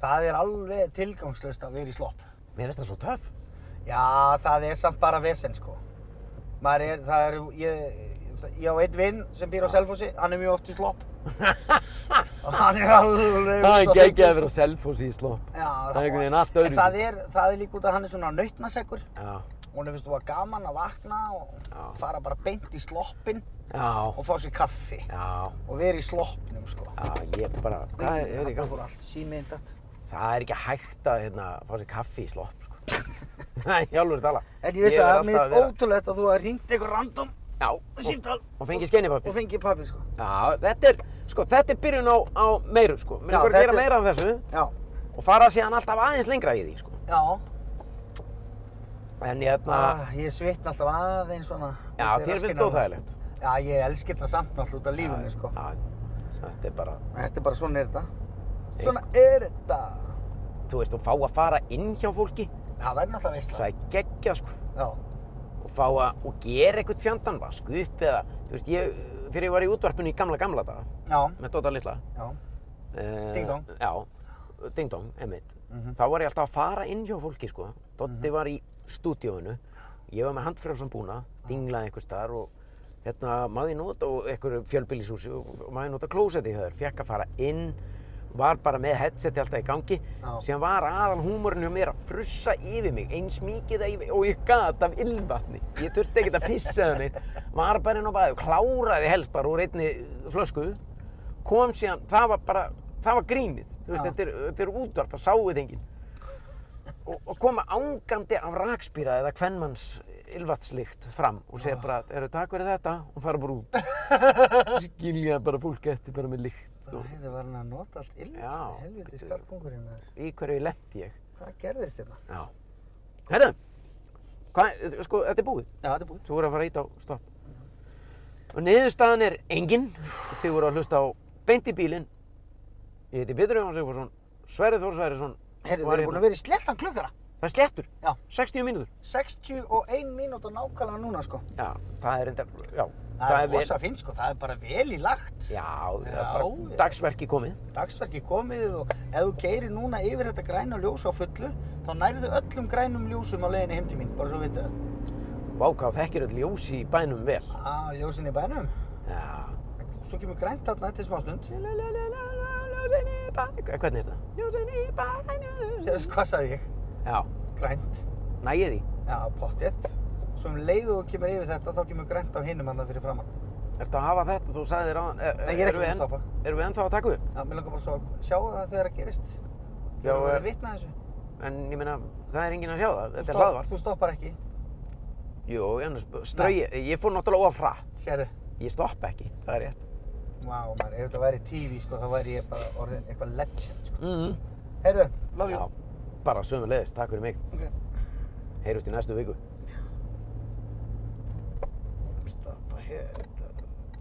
Speaker 2: Það er alveg tilgangslöst að vera í slopp.
Speaker 1: Mér finnst það svo töff.
Speaker 2: Já, það er samt bara vesen, sko. Maður er, það er, ég, ég á einn vinn sem býr á Selfossi, hann er mjög oft í slopp. Og hann er alveg...
Speaker 1: Það er
Speaker 2: út af
Speaker 1: geggjað að
Speaker 2: hengju,
Speaker 1: vera á Selfossi í slopp.
Speaker 2: sko. Já,
Speaker 1: Það er einhvern veginn allt öðruvísi.
Speaker 2: En Það er, það er líka út af hann er svona nautnasekkur.
Speaker 1: Já,
Speaker 2: Hún er fyrst og að gaman að vakna og
Speaker 1: Já.
Speaker 2: fara bara beint í sloppin
Speaker 1: já,
Speaker 2: og fá sér kaffi.
Speaker 1: já.
Speaker 2: Og vera í sloppnum, sko.
Speaker 1: Já, ég bara, hvað er, er í gangi?
Speaker 2: Það fór allt símiðin dætt.
Speaker 1: Það er ekki hægt að hérna, fá sér kaffi í slopp, sko. Nei, ég alveg tala.
Speaker 2: En ég veist
Speaker 1: er
Speaker 2: að það
Speaker 1: alltaf
Speaker 2: er mér
Speaker 1: að vera-
Speaker 2: ótrúlegt að þú hafi ringt einhver random
Speaker 1: Já,
Speaker 2: símtal
Speaker 1: og, og fengi skeinipapir.
Speaker 2: og fengið pappir, sko.
Speaker 1: Já, þetta er, sko, þetta er byrjun á, á meiru, sko. Mér er
Speaker 2: Já,
Speaker 1: bara að gera
Speaker 2: þetta er-
Speaker 1: meira af þessu
Speaker 2: Já,
Speaker 1: og fara síðan alltaf aðeins lengra í því, sko.
Speaker 2: já.
Speaker 1: En ég, hérna,
Speaker 2: Ah, ég svitna alltaf aðeins svona.
Speaker 1: já,
Speaker 2: milli
Speaker 1: þér
Speaker 2: rasskinnanna.
Speaker 1: finnst óþægilegt.
Speaker 2: Já, ég elski þetta samt náttúrulega út af lífinu, sko.
Speaker 1: Já, Þetta er bara,
Speaker 2: Þetta er bara svona er þetta. Svona er þetta.
Speaker 1: þú veist, og fá að fara inn hjá fólki,
Speaker 2: Það verður náttúrulega
Speaker 1: það
Speaker 2: veistla.
Speaker 1: er geggjað, sko.
Speaker 2: Já.
Speaker 1: Og fá að, og gera eitthvað fjandan, vasku upp eða, þú veist, ég, þegar ég var í útvarpinu í gamla, gamla daga,
Speaker 2: Já.
Speaker 1: með Dóta Lilla.
Speaker 2: Já.
Speaker 1: eh,
Speaker 2: Ding dong. Mhm.
Speaker 1: Já, Ding Dong, emitt. Þá var ég alltaf að fara inn hjá fólki, sko. Dóti var í stúdíóinu, ég var með handfrjálsum búna, dinglaði einhver starf og hérna maður nota og einhverju fjölbýlishúsi og maður nota klósetti hjá þér, fekk að fara inn, var bara með headseti alltaf í gangi,
Speaker 2: Já.
Speaker 1: sem var aðal húmorinn hjá mér að frussa yfir mig eins mikið að- og ég gat af ylvatni. Ég þurfti ekkert að pissa það neitt, var bara inn á baði og kláraði helst bara úr einni flösku kom síðan, það var bara, það var grínið, þú veist,
Speaker 2: Já.
Speaker 1: þetta er, þetta er útvarp, það sáu þetta enginn. Og, og koma ángandi af rakspýra eða kvennmanns ylvatslikt fram og segja bara, eru takk fyrir þetta og fara bara út. Skilja bara fólk eftir bara með lykt og
Speaker 2: Þetta var hann að nota allt illt.
Speaker 1: Já.
Speaker 2: Helviti skarpungurinn þar.
Speaker 1: í hverju lendi ég.
Speaker 2: Hvað gerðist hérna?
Speaker 1: Já. Herðu, hvað, sko, þetta er búið.
Speaker 2: Já, þetta er búið.
Speaker 1: Þú voru að fara ít á stopp. Og niðurstaðan er engin. Þið voru að hlusta á beint í bílinn. Ég heiti Pétur Jóhann Sigfússon, Sverrið Þór Sverrisson.
Speaker 2: Herru,
Speaker 1: og
Speaker 2: við
Speaker 1: var hérna-
Speaker 2: erum búin að vera í slettan klukkara.
Speaker 1: Það er slettur.
Speaker 2: Já.
Speaker 1: 60 mínútur.
Speaker 2: 61 mínútur nákvæmlega núna, sko.
Speaker 1: Já, það er enda, já.
Speaker 2: Það er
Speaker 1: vel-
Speaker 2: rosa fint, sko. Það er bara vel í lagt.
Speaker 1: Já, það er
Speaker 2: Já,
Speaker 1: bara
Speaker 2: já.
Speaker 1: dagsverki komið.
Speaker 2: Dagsverki komið og ef þú keirir núna yfir þetta græna ljós á fullu, þá nærðu öllum grænum ljósum á leiðinni heim til mín, bara svo vitið það.
Speaker 1: Váká, þekkir öll ljós í bænum vel.
Speaker 2: Á, ljósin í bænum.
Speaker 1: Já.
Speaker 2: Svo kemur grænt þarna eftir smástund.
Speaker 1: Ljósin í bænum. Hvernig er það? Ljósin í bænum.
Speaker 2: Sérðu hvað sagði ég?
Speaker 1: Já,
Speaker 2: Grænt.
Speaker 1: nægið því.
Speaker 2: Já, pottjett. Svo um leið og þú kemur yfir þetta, þá kemur grænt á hinum hann fyrir framann.
Speaker 1: Ertu að hafa þetta? Þú sagði þér á hann.
Speaker 2: Nei, ég er ekki búinn að stoppa.
Speaker 1: Erum við ennþá að taka upp?
Speaker 2: Já, mér langar bara svo að sjá það þegar það gerist.
Speaker 1: Já,
Speaker 2: Já, þú
Speaker 1: eh,
Speaker 2: verður vitna að þessu.
Speaker 1: En ég meina, það er enginn að sjá það, þetta er
Speaker 2: Stopp-
Speaker 1: hlaðvarp.
Speaker 2: Þú stoppar ekki.
Speaker 1: Jú, annars, strögi, ég fór náttúrulega of hratt.
Speaker 2: Sérðu.
Speaker 1: Ég stoppa ekki, það er rétt.
Speaker 2: Vá, maður, ef þetta væri TV, sko, þá væri ég bara orðin eitthvað legend, sko.
Speaker 1: Mm
Speaker 2: Herru, love you.
Speaker 1: Já, bara sömu leiðist, takk fyrir mig.
Speaker 2: Ok.
Speaker 1: Heyrjumst í næstu viku.
Speaker 2: Stoppa hérna. hér.